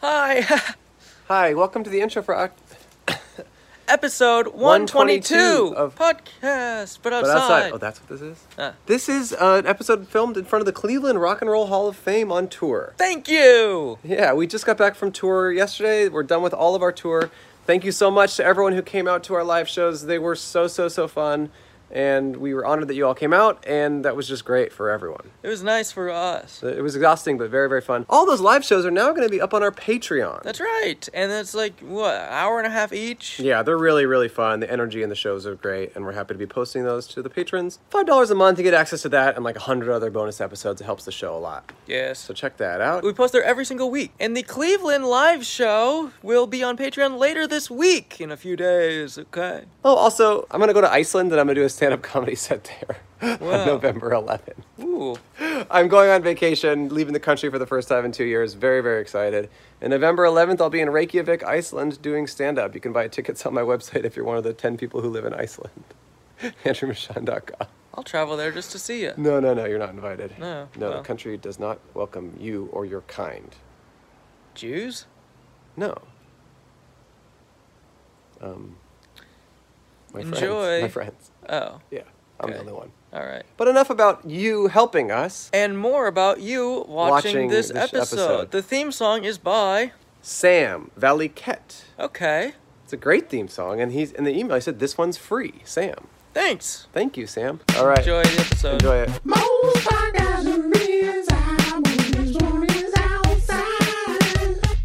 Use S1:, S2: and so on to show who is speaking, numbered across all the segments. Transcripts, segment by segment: S1: Hi,
S2: Hi, welcome to the intro for Oct-
S1: episode 122,
S2: 122 of-
S1: podcast, but outside.
S2: But outside. Oh, that's what this is?
S1: Ah.
S2: This is uh, an episode filmed in front of the Cleveland Rock and Roll Hall of Fame on tour.
S1: Thank you.
S2: Yeah, we just got back from tour yesterday. We're done with all of our tour. Thank you so much to everyone who came out to our live shows. They were so, so, so fun. And we were honored that you all came out, and that was just great for everyone.
S1: It was nice for us.
S2: It was exhausting, but very, very fun. All those live shows are now going to be up on our Patreon.
S1: That's right. And it's like, what, an hour and a half each?
S2: Yeah, they're really, really fun. The energy in the shows are great, and we're happy to be posting those to the patrons. $5 a month, you get access to that and like 100 other bonus episodes. It helps the show a lot.
S1: Yes.
S2: So check that out.
S1: We post there every single week. And the Cleveland live show will be on Patreon later this week in a few days, okay?
S2: Oh, also, I'm going to go to Iceland and I'm going to do a stand up comedy set there
S1: Wow.
S2: on November 11th.
S1: Ooh.
S2: I'm going on vacation, leaving the country for the first time in two years. Very, very excited. And November 11th, I'll be in Reykjavik, Iceland, doing stand up. You can buy tickets on my website if you're one of the 10 people who live in Iceland. AndrewMichon.com.
S1: I'll travel there just to see you.
S2: No, no, no, you're not invited.
S1: No,
S2: No,
S1: Oh, well.
S2: the country does not welcome you or your kind.
S1: Jews?
S2: No. Um, my
S1: Enjoy.
S2: Friends, my friends.
S1: Oh,
S2: Yeah, I'm the
S1: Okay.
S2: only one.
S1: all right.
S2: But enough about you helping us.
S1: And more about you watching,
S2: Watching
S1: this,
S2: this
S1: episode.
S2: episode.
S1: The theme song is by.
S2: Sam Valiquette.
S1: Okay.
S2: It's a great theme song, and he's in the email. I said this one's free, Sam.
S1: Thanks.
S2: Thank you, Sam. All right,
S1: Enjoy the episode.
S2: enjoy it.
S3: Most Bagazaries, I'm always on his outside.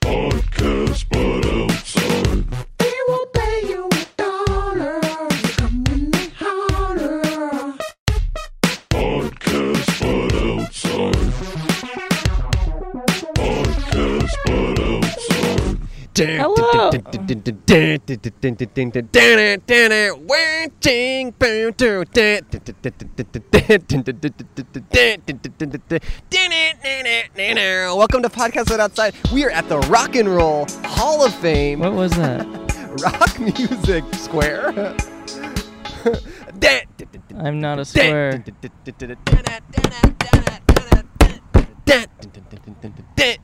S4: podcast, but outside.
S3: They will pay you a dollar. You come in and holler.
S4: Podcast, but outside. Podcast, but outside.
S1: Hello.
S2: Welcome to Podcast Right Outside. We are at the Rock and Roll Hall of Fame.
S1: What was that?
S2: Rock Music Square.
S1: I'm not a square.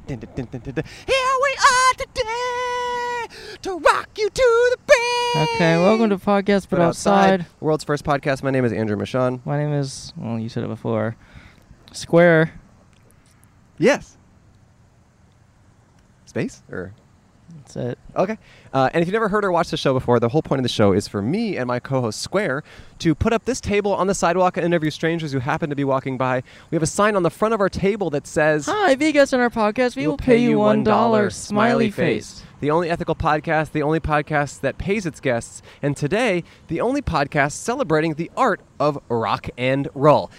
S2: Here we are today to rock you to the bed.
S5: Okay, welcome to Podcast But, outside.
S2: World's first podcast. My name is Andrew Michon.
S5: My name is, well, you said it before, Square.
S2: Yes. Space or
S5: That's it.
S2: Okay. Uh, and if you've never heard or watched the show before, the whole point of the show is for me and my co host Square to put up this table on the sidewalk and interview strangers who happen to be walking by. We have a sign on the front of our table that says,
S5: Hi, if you guest on our podcast, we will pay you $1, smiley face.
S2: The only ethical podcast, the only podcast that pays its guests, and today, the only podcast celebrating the art of rock and roll.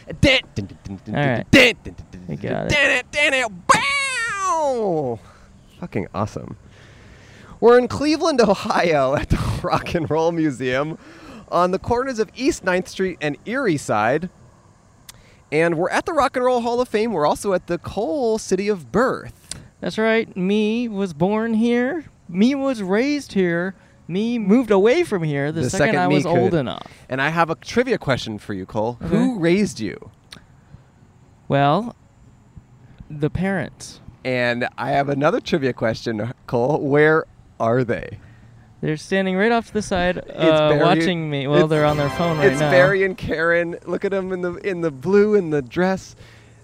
S5: right. We got
S2: Wow! Fucking awesome. We're in Cleveland, Ohio at the Rock and Roll Museum on the corners of East 9th Street and Erie Side. And we're at the Rock and Roll Hall of Fame. We're also at the Coal City of Birth.
S5: That's right, me was born here, me was raised here, me moved away from here the, second, I
S2: me
S5: was old
S2: could.
S5: enough.
S2: And I have a trivia question for you, Cole. Who raised you?
S5: Well, the parents,
S2: And I have another trivia question, Cole. Where are they?
S5: they're standing right off to the side uh,
S2: buried-
S5: watching me. Well,
S2: it's-
S5: they're on their phone right
S2: it's
S5: now.
S2: Barry and Karen. Look at them in the in the blue in the dress.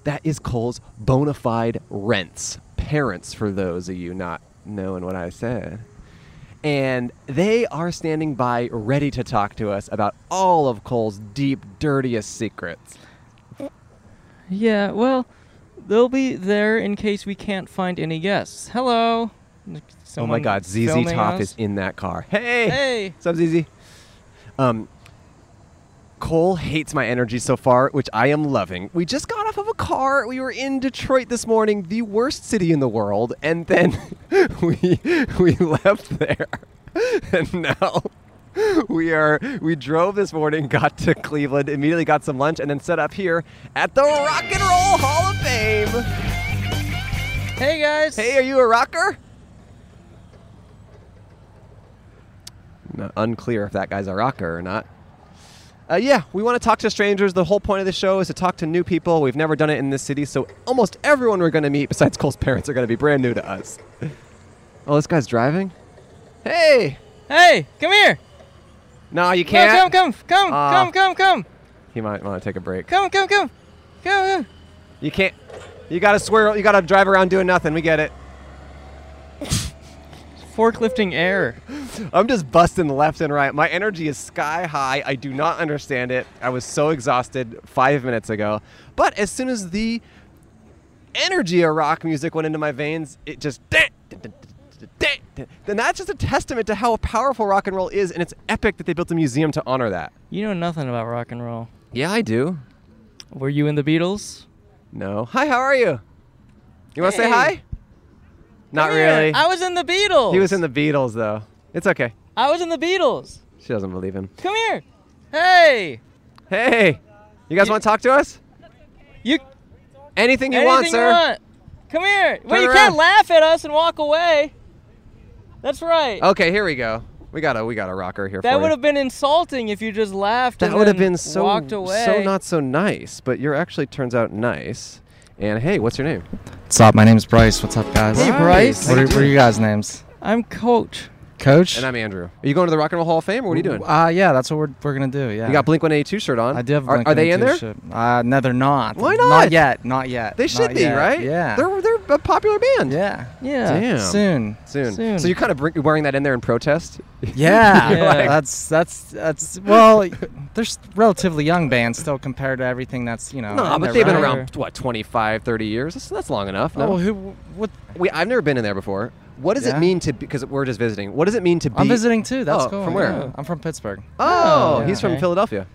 S2: That is Cole's bona fide rents. Parents, for those of you not knowing what I said. And they are standing by ready to talk to us about all of Cole's deep, dirtiest secrets.
S5: Yeah, well, they'll be there in case we can't find any guests. Hello.
S2: Oh my
S5: Someone
S2: God, ZZ
S5: filming
S2: Top
S5: us?
S2: is in that car. Hey!
S5: Hey.
S2: What's up, ZZ? Um, Cole hates my energy so far, which I am loving. We just got off of a car. We were in Detroit this morning, the worst city in the world, and then we we left there, and now we are we drove this morning, got to Cleveland, immediately got some lunch, and then set up here at the Rock and Roll Hall of Fame.
S5: Hey guys.
S2: Hey, are you a rocker? No, unclear if that guy's a rocker or not. Uh, yeah, we want to talk to strangers. The whole point of the show is to talk to new people. We've never done it in this city, so almost everyone we're going to meet, besides Cole's parents, are going to be brand new to us. Oh, this guy's driving? Hey!
S5: Hey, come here.
S2: No, you
S5: Come,
S2: can't. Ah.
S5: come, come, come,
S2: Aw.
S5: come, come, come,
S2: He might want to take a break.
S5: come, come, come, come.
S2: You can't. You gotta swear. You gotta drive around doing nothing. We get it.
S5: Forklifting air.
S2: I'm just busting left and right. My energy is sky high. I do not understand it. I was so exhausted five minutes ago. But as soon as the energy of rock music went into my veins, it just. Then that's just a testament to how powerful rock and roll is, and it's epic that they built a museum to honor that.
S5: You know nothing about rock and roll.
S2: Yeah, I do.
S5: Were you in the Beatles?
S2: No. Hi, how are you? You want to say
S5: Hey.
S2: hi? Not
S5: Come here.
S2: really.
S5: I was in the Beatles.
S2: He was in the Beatles, though. It's okay.
S5: I was in the Beatles.
S2: She doesn't believe him.
S5: Come here. Hey.
S2: Hey, you guys
S5: Yeah.
S2: want to talk to us?
S5: You.
S2: Anything you
S5: anything
S2: want,
S5: you
S2: sir.
S5: want. Come here. well,
S2: Turn
S5: you
S2: around.
S5: can't laugh at us and walk away. That's right.
S2: Okay, here we go. We got a we got a rocker here for
S5: that
S2: you.
S5: would have been insulting if you just laughed.
S2: that
S5: and
S2: would have
S5: then
S2: been so
S5: walked away.
S2: so not so nice, but you're actually turns out nice. And hey, what's your name?
S6: What's up? My name's Bryce. What's up, guys?
S5: Hey, Bryce.
S6: What are, what are you guys' names?
S5: I'm coach.
S6: Coach.
S2: And I'm Andrew. Are you going to the Rock and Roll Hall of Fame or what are you doing?
S6: Uh, yeah, that's what we're, we're gonna do. Yeah.
S2: you got Blink 182 shirt on.
S6: I do have. a
S2: Are,
S6: Blink
S2: are they in there?
S6: 182 shirt. Uh, no, they're not.
S2: Why not?
S6: Not yet. Not yet.
S2: They
S6: Not
S2: should be,
S6: yet.
S2: right?
S6: Yeah.
S2: They're they're a popular band.
S6: yeah.
S5: Yeah.
S2: Damn.
S6: Soon.
S2: Soon.
S5: Soon.
S2: So you're kind of bring, wearing that in there in protest.
S6: Yeah.
S5: You're like-
S6: That's that's that's well, they're s- relatively young bands still compared to everything that's you know.
S2: no,
S6: in
S2: but
S6: there,
S2: they've been
S6: right?
S2: around what 25, 30 years. That's, that's long enough. No?
S6: Oh, who? What?
S2: We, I've never been in there before. What does it
S6: Yeah.
S2: mean to? Because we're just visiting. What does it mean to be?
S6: I'm visiting too. That's
S2: Oh,
S6: cool.
S2: from where?
S6: yeah. I'm from Pittsburgh.
S2: Oh,
S5: Oh,
S2: he's from
S5: okay.
S2: Philadelphia.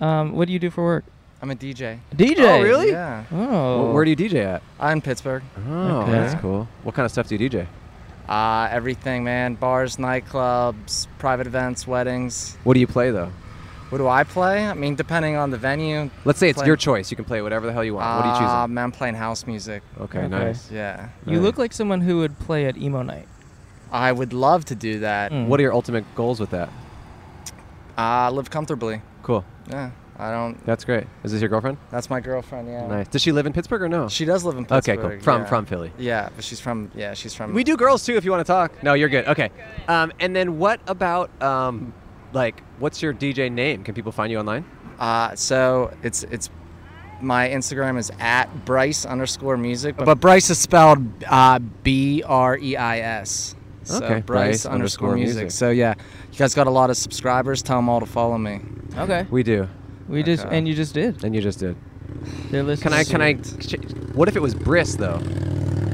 S5: Um, what do you do for work?
S6: I'm a DJ.
S5: DJ.
S2: Oh, really?
S6: Yeah.
S5: Oh.
S2: Wh- Where do you DJ at?
S6: I'm Pittsburgh.
S2: Oh,
S5: Okay.
S2: that's cool. What kind of stuff do you DJ?
S6: Uh, everything, man. Bars, nightclubs, private events, weddings.
S2: What do you play though?
S6: What do I play? I mean, depending on the venue.
S2: Let's say it's
S6: Play-
S2: your choice. You can play whatever the hell you want. what are you
S6: Uh,
S2: choosing?
S6: man, I'm playing house music.
S2: Okay,
S5: okay.
S2: nice.
S6: Yeah.
S5: You look like someone who would play at emo night.
S6: I would love to do that.
S5: Mm.
S2: What are your ultimate goals with that?
S6: Uh, live comfortably.
S2: Cool.
S6: Yeah. I don't.
S2: That's great. Is this your girlfriend?
S6: That's my girlfriend. Yeah.
S2: Nice. Does she live in Pittsburgh or no?
S6: She does live in
S2: okay,
S6: Pittsburgh.
S2: cool. From
S6: yeah.
S2: from Philly.
S6: Yeah, but she's from. Yeah, she's from.
S2: We do girls too if you want to talk. No, you're good. Okay. Um, and then what about um, like what's your DJ name? Can people find you online?
S6: Uh, so it's it's. My Instagram is at Bryce underscore music, but, Bryce is spelled uh, B R E I S. So
S2: Okay,
S6: Bryce,
S2: Bryce underscore
S6: underscore music.
S2: music.
S6: So yeah, you guys got a lot of subscribers. Tell them all to follow me.
S5: Okay.
S2: We do.
S5: We just
S6: Okay.
S5: and you just did.
S2: And you just did.
S5: They're listening.
S2: Can I
S5: to
S2: can
S5: you.
S2: I ch- What if it was Briss though?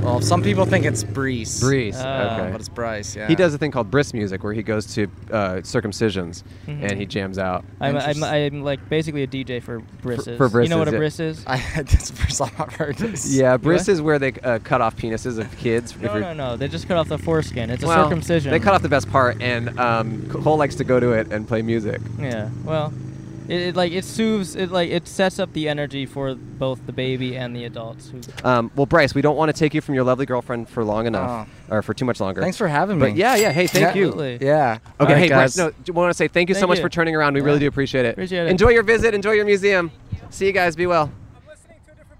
S6: Well, some people think it's Brees.
S2: Breeze.
S5: Ah.
S2: okay.
S6: But it's Bryce, yeah.
S2: He does a thing called bris music where he goes to uh, circumcisions and he jams out.
S5: Mm-hmm. I'm, I'm,
S6: Interest-
S5: I'm like basically a DJ for brisses.
S2: for
S5: You know what
S2: brisses, yeah.
S5: a briss is?
S6: I, that's the first time I've heard this.
S2: Yeah, bris
S5: Really?
S2: is where they uh, cut off penises of kids.
S5: No, no, no. They just cut off the foreskin. It's a
S2: Well,
S5: circumcision.
S2: They cut off the best part, and um, Cole likes to go to it and play music.
S5: Yeah. Well, it, it like it soothes. It like it sets up the energy for both the baby and the adults. Who,
S2: Um, well, Bryce, we don't want to take you from your lovely girlfriend for
S5: Oh.
S2: long enough, or for too much longer.
S6: Thanks for having me.
S2: But yeah, yeah. Hey, thank you.
S5: Absolutely.
S6: Yeah.
S2: Okay,
S6: Alright,
S2: hey,
S6: guys.
S2: Bryce. No, I want to say thank you so
S5: Thank
S2: much
S5: you.
S2: for turning around. We really do appreciate it.
S5: Appreciate it.
S2: Enjoy your visit. Enjoy your museum. See you guys. Be well.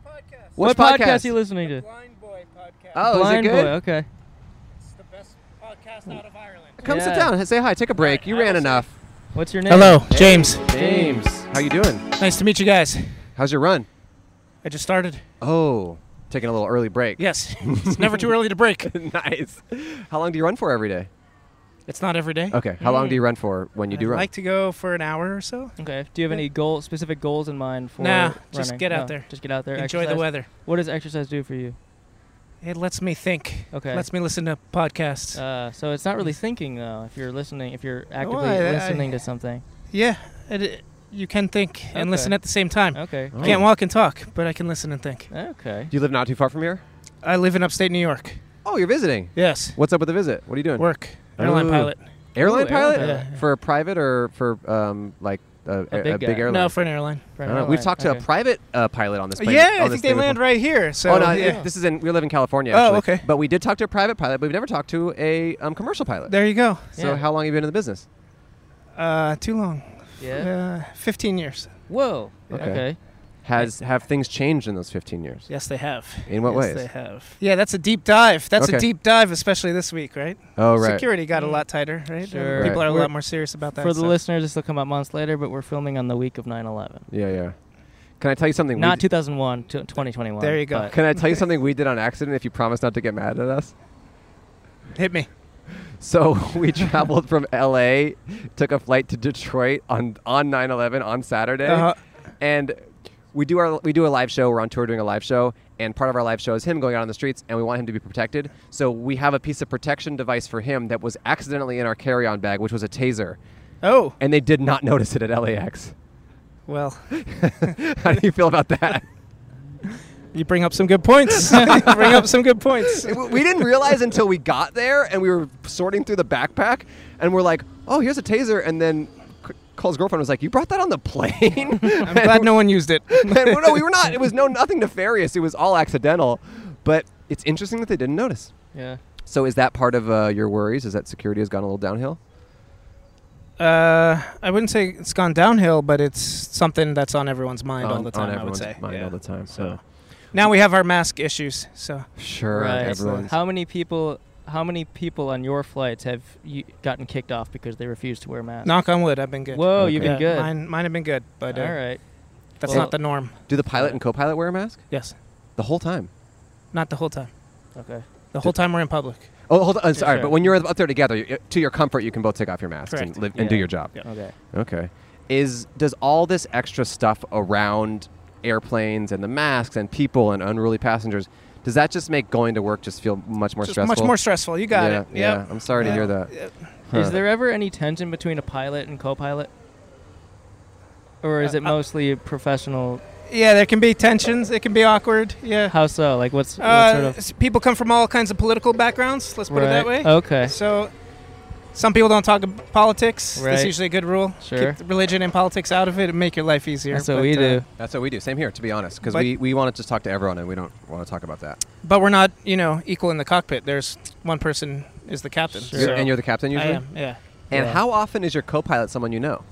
S5: what
S2: Which
S5: podcast? are you listening to?
S7: Blind Boy podcast.
S2: Oh,
S5: Blind
S2: is it good?
S5: Boy. Okay.
S7: It's the best podcast out of Ireland.
S2: Come sit
S5: Yeah.
S2: down. Say hi. Take a break. You ran enough.
S5: What's your name?
S7: Hello, James.
S2: James, how you doing?
S7: Nice to meet you guys.
S2: How's your run?
S7: I just started.
S2: Oh, taking a little early break.
S7: Yes, it's never too early to break.
S2: nice. How long do you run for every day?
S7: It's not every day.
S2: Okay. How
S5: Mm.
S2: long do you run for when you do
S7: I
S2: run?
S7: Hmm. like to go for an hour or so.
S5: Okay. Do you have any goal specific goals in mind for?
S7: Nah, just
S5: running?
S7: get out
S5: No,
S7: there.
S5: Just get out there.
S7: Enjoy
S5: exercise.
S7: the weather.
S5: What does exercise do for you?
S7: It lets me think.
S5: Okay.
S7: Lets me listen to podcasts.
S5: Uh, so it's not really thinking though. If you're listening, if you're actively
S7: I- I-
S5: listening to something.
S7: yeah, it, it- you can think
S5: Okay.
S7: and listen at the same time.
S5: Okay.
S2: Oh.
S7: Can't walk and talk, but I can listen and think.
S5: Okay.
S2: do you live not too far from here?
S7: I live in upstate New York.
S2: Oh, you're visiting.
S7: Yes.
S2: What's up with the visit? What are you doing?
S7: Work. Airline
S2: Ooh.
S7: pilot.
S2: Airline
S5: Ooh,
S2: pilot?
S5: airline
S7: pilot.
S2: For a private or for um like a, a,
S5: big
S2: a
S5: guy.
S2: big airline?
S7: No, for an airline.
S2: I don't know. We've talked to a private uh, pilot on this plane.
S7: Yeah,
S2: on
S7: I
S2: this
S7: think they
S2: thing
S7: land
S2: before.
S7: right here. So
S2: oh no!
S7: yeah.
S2: it- This is in. We live in California.
S7: Oh,
S2: actually.
S7: okay.
S2: But we did talk to a private pilot, but we've never talked to a um, commercial pilot.
S7: there you go.
S2: So
S5: Yeah.
S2: how long have you been in the business?
S7: Uh, too long.
S5: Yeah.
S7: Uh, 15 years.
S5: Whoa.
S2: Okay.
S5: Okay.
S2: Has have things changed in those 15 years?
S7: Yes, they have.
S2: In what
S7: yes,
S2: ways?
S7: They have. Yeah, that's a deep dive. That's
S2: Okay.
S7: a deep dive, especially this week, right?
S2: Oh right.
S7: Security got a lot tighter, right?
S5: Mm. Sure.
S7: People
S2: Right.
S7: are a
S5: We're-
S7: lot more serious about that.
S5: For the
S7: so-
S5: listeners, this will come out months later, but we're filming on the week of 9/11,
S2: Yeah, yeah. Can I tell you something?
S5: not
S2: we
S5: 2001, to 2021.
S7: There you go.
S5: but-
S2: Can I tell you something we did on accident if you promise not to get mad at us?
S7: Hit me.
S2: So we traveled from LA, took a flight to Detroit on on 9/11 on Saturday,
S7: Uh-huh.
S2: and we do our we do a live show. We're on tour doing a live show, and part of our live show is him going out on the streets, and we want him to be protected. So we have a piece of protection device for him that was accidentally in our carry-on bag, which was a taser,
S7: Oh,
S2: and they did not notice it at LAX.
S7: well,
S2: How do you feel about that?
S7: you bring up some good points. you bring up some good points.
S2: we we didn't realize until we got there and we were sorting through the backpack and we're like, oh, here's a taser. And then C- Cole's girlfriend was like, you brought that on the plane?
S7: I'm glad no one used it.
S2: and, no, we were not. It was no nothing nefarious. It was all accidental. But it's interesting that they didn't notice.
S5: Yeah.
S2: So is that part of uh, your worries? Is that security has gone a little downhill?
S7: Uh, I wouldn't say it's gone downhill, but it's something that's on everyone's mind all the time. I would
S2: everyone's
S7: say.
S2: mind
S7: Yeah.
S2: all the time. So
S7: Now we have our mask issues. So
S2: sure,
S5: Right.
S2: everyone's.
S5: How many people? How many people on your flights have you gotten kicked off because they refused to wear masks?
S7: knock on wood, I've been good.
S5: Whoa, you've
S7: Yeah,
S5: been good.
S7: Mine, mine have been good, but uh,
S5: All right.
S7: that's
S5: Well-
S7: not the norm.
S2: Do the pilot and co-pilot wear a mask
S7: Yes,
S2: the whole time?
S7: not the whole time.
S5: Okay.
S7: The whole time we're in public.
S2: Oh, hold on. uh, sorry,
S5: sure.
S2: but when you're up there together, you, to your comfort, you can both take off your masks and
S7: Correct.
S2: live and do
S5: Yeah.
S2: your job.
S5: Okay.
S2: Okay. Is does all this extra stuff around airplanes and the masks and people and unruly passengers does that just make going to work just feel much more
S7: Just
S2: stressful?
S7: much more stressful. You got
S2: yeah,
S7: it.
S2: Yeah.
S7: Yep.
S2: I'm sorry to
S7: Yeah.
S2: hear that. Huh.
S5: Is there ever any tension between a pilot and co-pilot? Or is
S7: Uh,
S5: it
S7: uh,
S5: mostly professional?
S7: Yeah, there can be tensions. It can be awkward. Yeah.
S5: How so? Like what's what
S7: uh,
S5: sort of
S7: s- people come from all kinds of political backgrounds. Let's put it that way.
S5: Right. Okay.
S7: So, some people don't talk ab- politics. That's
S5: Right.
S7: usually a good rule.
S5: Sure.
S7: Keep religion and politics out of it and make your life easier.
S5: That's what
S7: but,
S5: we
S7: uh,
S5: do.
S2: That's what we do. Same here, to be honest, because
S7: But-
S2: we, we want to just talk to everyone and we don't want to talk about that.
S7: But we're not, you know, equal in the cockpit. There's one person is the captain.
S5: Sure.
S2: You're-
S7: so-
S2: and you're the captain
S7: I
S2: usually.
S7: am, yeah.
S2: And
S5: Yeah.
S2: how often is your co-pilot someone you know?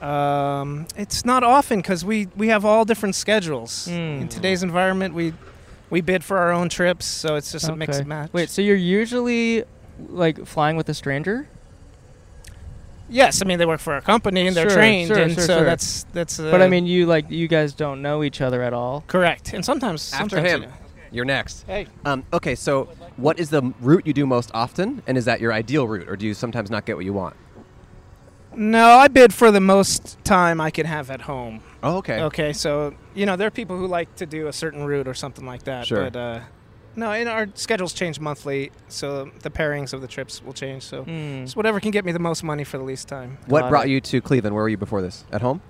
S7: Um, it's not often because we, we have all different schedules.
S5: Mm.
S7: In today's environment, we we bid for our own trips, so it's just a mix
S5: Okay.
S7: and match.
S5: Wait, so you're usually like flying with a stranger?
S7: yes, I mean they work for our company and they're
S5: Sure,
S7: trained,
S5: sure,
S7: and
S5: sure,
S7: so
S5: sure.
S7: that's that's. Uh,
S5: but I mean, you like you guys don't know each other at all.
S7: correct. And sometimes
S2: After
S7: sometimes,
S2: him.
S7: you know.
S2: You're next.
S7: Hey,
S2: Um, okay, so what is the route you do most often, and is that your ideal route, or do you sometimes not get what you want?
S7: no, I bid for the most time I can have at home.
S2: Oh, okay.
S7: Okay, so you know there are people who like to do a certain route or something like that.
S2: Sure.
S7: But uh, no, and our schedules change monthly, so the pairings of the trips will change. So
S5: Hmm.
S7: it's whatever can get me the most money for the least time.
S2: What
S5: Got
S2: brought
S5: it.
S2: you to Cleveland? Where were you before this? At home?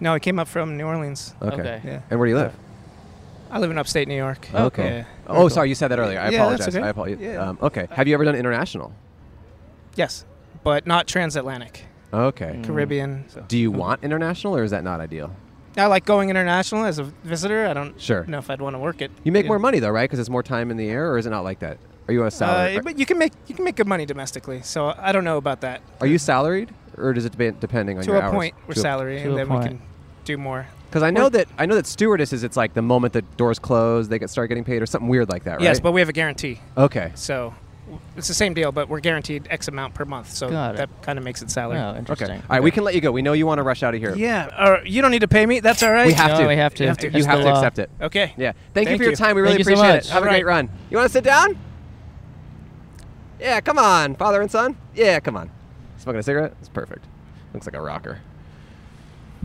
S7: No, I came up from New Orleans.
S5: Okay.
S7: Yeah,
S2: And where do you live?
S7: I live in upstate New York.
S2: Okay.
S7: Yeah.
S2: Oh, sorry, you said that earlier. I
S7: Yeah,
S2: apologize.
S7: that's okay.
S2: I apologize.
S7: Yeah.
S2: Um, okay. Have you ever done international?
S7: Yes, but not transatlantic,
S2: Okay.
S7: Mm. Caribbean. So.
S2: Do you want international, or is that not ideal?
S7: I like going international as a visitor. I don't
S2: Sure.
S7: know if I'd want to work it.
S2: You make
S7: Yeah.
S2: more money though, right? Because it's more time in the air, or is it not like that? Are you on a salary?
S7: Uh, but you can make you can make good money domestically. So I don't know about that.
S2: Are you salaried, or does it depend depending on
S7: to
S2: your
S7: a
S2: hours?
S7: point, we're salary,
S5: to
S7: and
S5: a
S7: then we
S5: point.
S7: can do more.
S2: Because I know that I know that stewardesses, it's like the moment the doors close, they get start getting paid, or something weird like that, right?
S7: Yes, but we have a guarantee.
S2: okay.
S7: So w- it's the same deal, but we're guaranteed X amount per month. So
S5: Got it.
S7: that kind of makes it salary.
S5: Oh,
S2: Okay.
S5: interesting.
S2: All right, we can let you go. We know you want to rush out of here.
S7: Yeah. Or you don't need to pay me. That's all right.
S2: We have
S5: No,
S2: to.
S5: we have to.
S2: You have to, you have to
S5: That's the
S2: accept
S5: law.
S2: it.
S7: Okay.
S2: Yeah. Thank, you
S7: Thank
S2: for your
S7: you.
S2: time. We really
S5: Thank you so
S2: appreciate it.
S5: much.
S2: Have a
S7: All
S2: great
S7: right.
S2: run. You want to sit down? Yeah, come on, father and son. Yeah, come on. Smoking a cigarette? It's perfect. Looks like a rocker.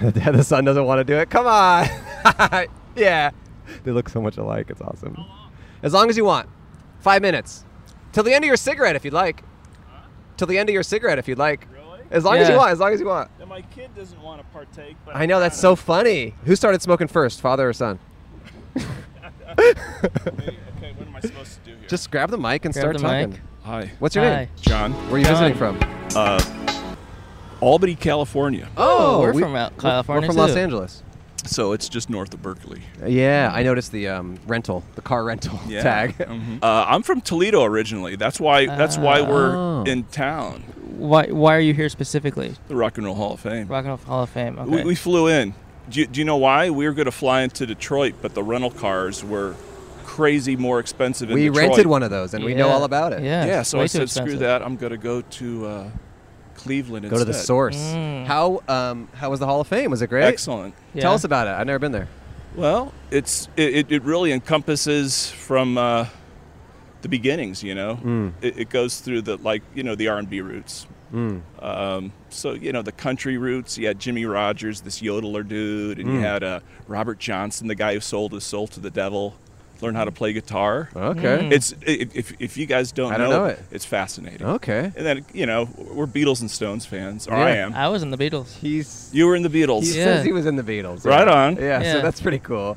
S2: the son doesn't want to do it. Come on. yeah. They look so much alike. It's awesome. As long as you want. Five minutes. Till the end of your cigarette if you'd like. Till the end of your cigarette if you'd like.
S8: Really?
S2: As long as you
S5: Yeah.
S2: want. As long as you want.
S8: And my kid doesn't want to partake. But
S2: I know that's so funny. Who started smoking first, father or son?
S8: Okay, what am I supposed to do here?
S2: Just grab the mic and
S5: Grab
S2: start
S5: the
S2: talking.
S5: mic.
S8: hi,
S2: What's your
S5: Hi.
S2: name?
S8: John, Uh,
S2: Where are you
S5: John.
S2: visiting from?
S8: Albany, California.
S5: Oh, we're
S2: we-
S5: from out- California.
S2: We're from
S5: too.
S2: Los Angeles.
S8: So it's just north of Berkeley.
S2: Yeah,
S8: Mm.
S2: I noticed the um, rental, the car rental
S8: Yeah. Mm-hmm.
S2: tag.
S8: Uh, I'm from Toledo originally. That's why. That's why we're
S2: Oh.
S8: in town.
S5: why why are you here specifically?
S8: The Rock and Roll Hall of Fame.
S5: Rock and Roll Hall of Fame. Okay.
S8: We, we flew in. Do you, do you know why? We were going to fly into Detroit, but the rental cars were crazy more expensive in
S2: we
S8: Detroit.
S2: rented one of those and we know
S5: Yeah.
S2: all about it.
S5: Yeah.
S8: Yeah,
S5: it's
S8: so I
S5: way too
S8: said,
S5: expensive.
S8: screw that. I'm going to go to uh, Cleveland
S2: Go to the
S8: instead.
S2: source.
S5: Mm.
S2: How um how was the Hall of Fame? Was it great?
S8: Excellent.
S5: Yeah.
S2: Tell us about it. I've never been there.
S8: Well, it's it, it- it really encompasses from uh, the beginnings, you know.
S2: Hmm.
S8: It, it goes through the like you know the R and B roots.
S2: Hmm.
S8: Um, so you know the country roots. You had Jimmy Rogers, this yodeler dude,
S2: Hmm.
S8: and you had uh, Robert Johnson, the guy who sold his soul to the devil, learned how to play guitar.
S5: Hmm.
S2: Okay.
S8: It's i- if, if you guys don't,
S2: I don't know it.
S8: it's fascinating.
S2: Okay.
S8: And then you know we're Beatles and Stones fans, or I
S2: Yeah.
S8: am.
S5: I was in the Beatles.
S2: He's
S8: You were in the Beatles.
S2: he
S5: Yeah.
S2: says he was in the Beatles.
S8: Right
S2: yeah.
S8: on.
S2: Yeah, so
S5: Yeah.
S2: that's pretty cool.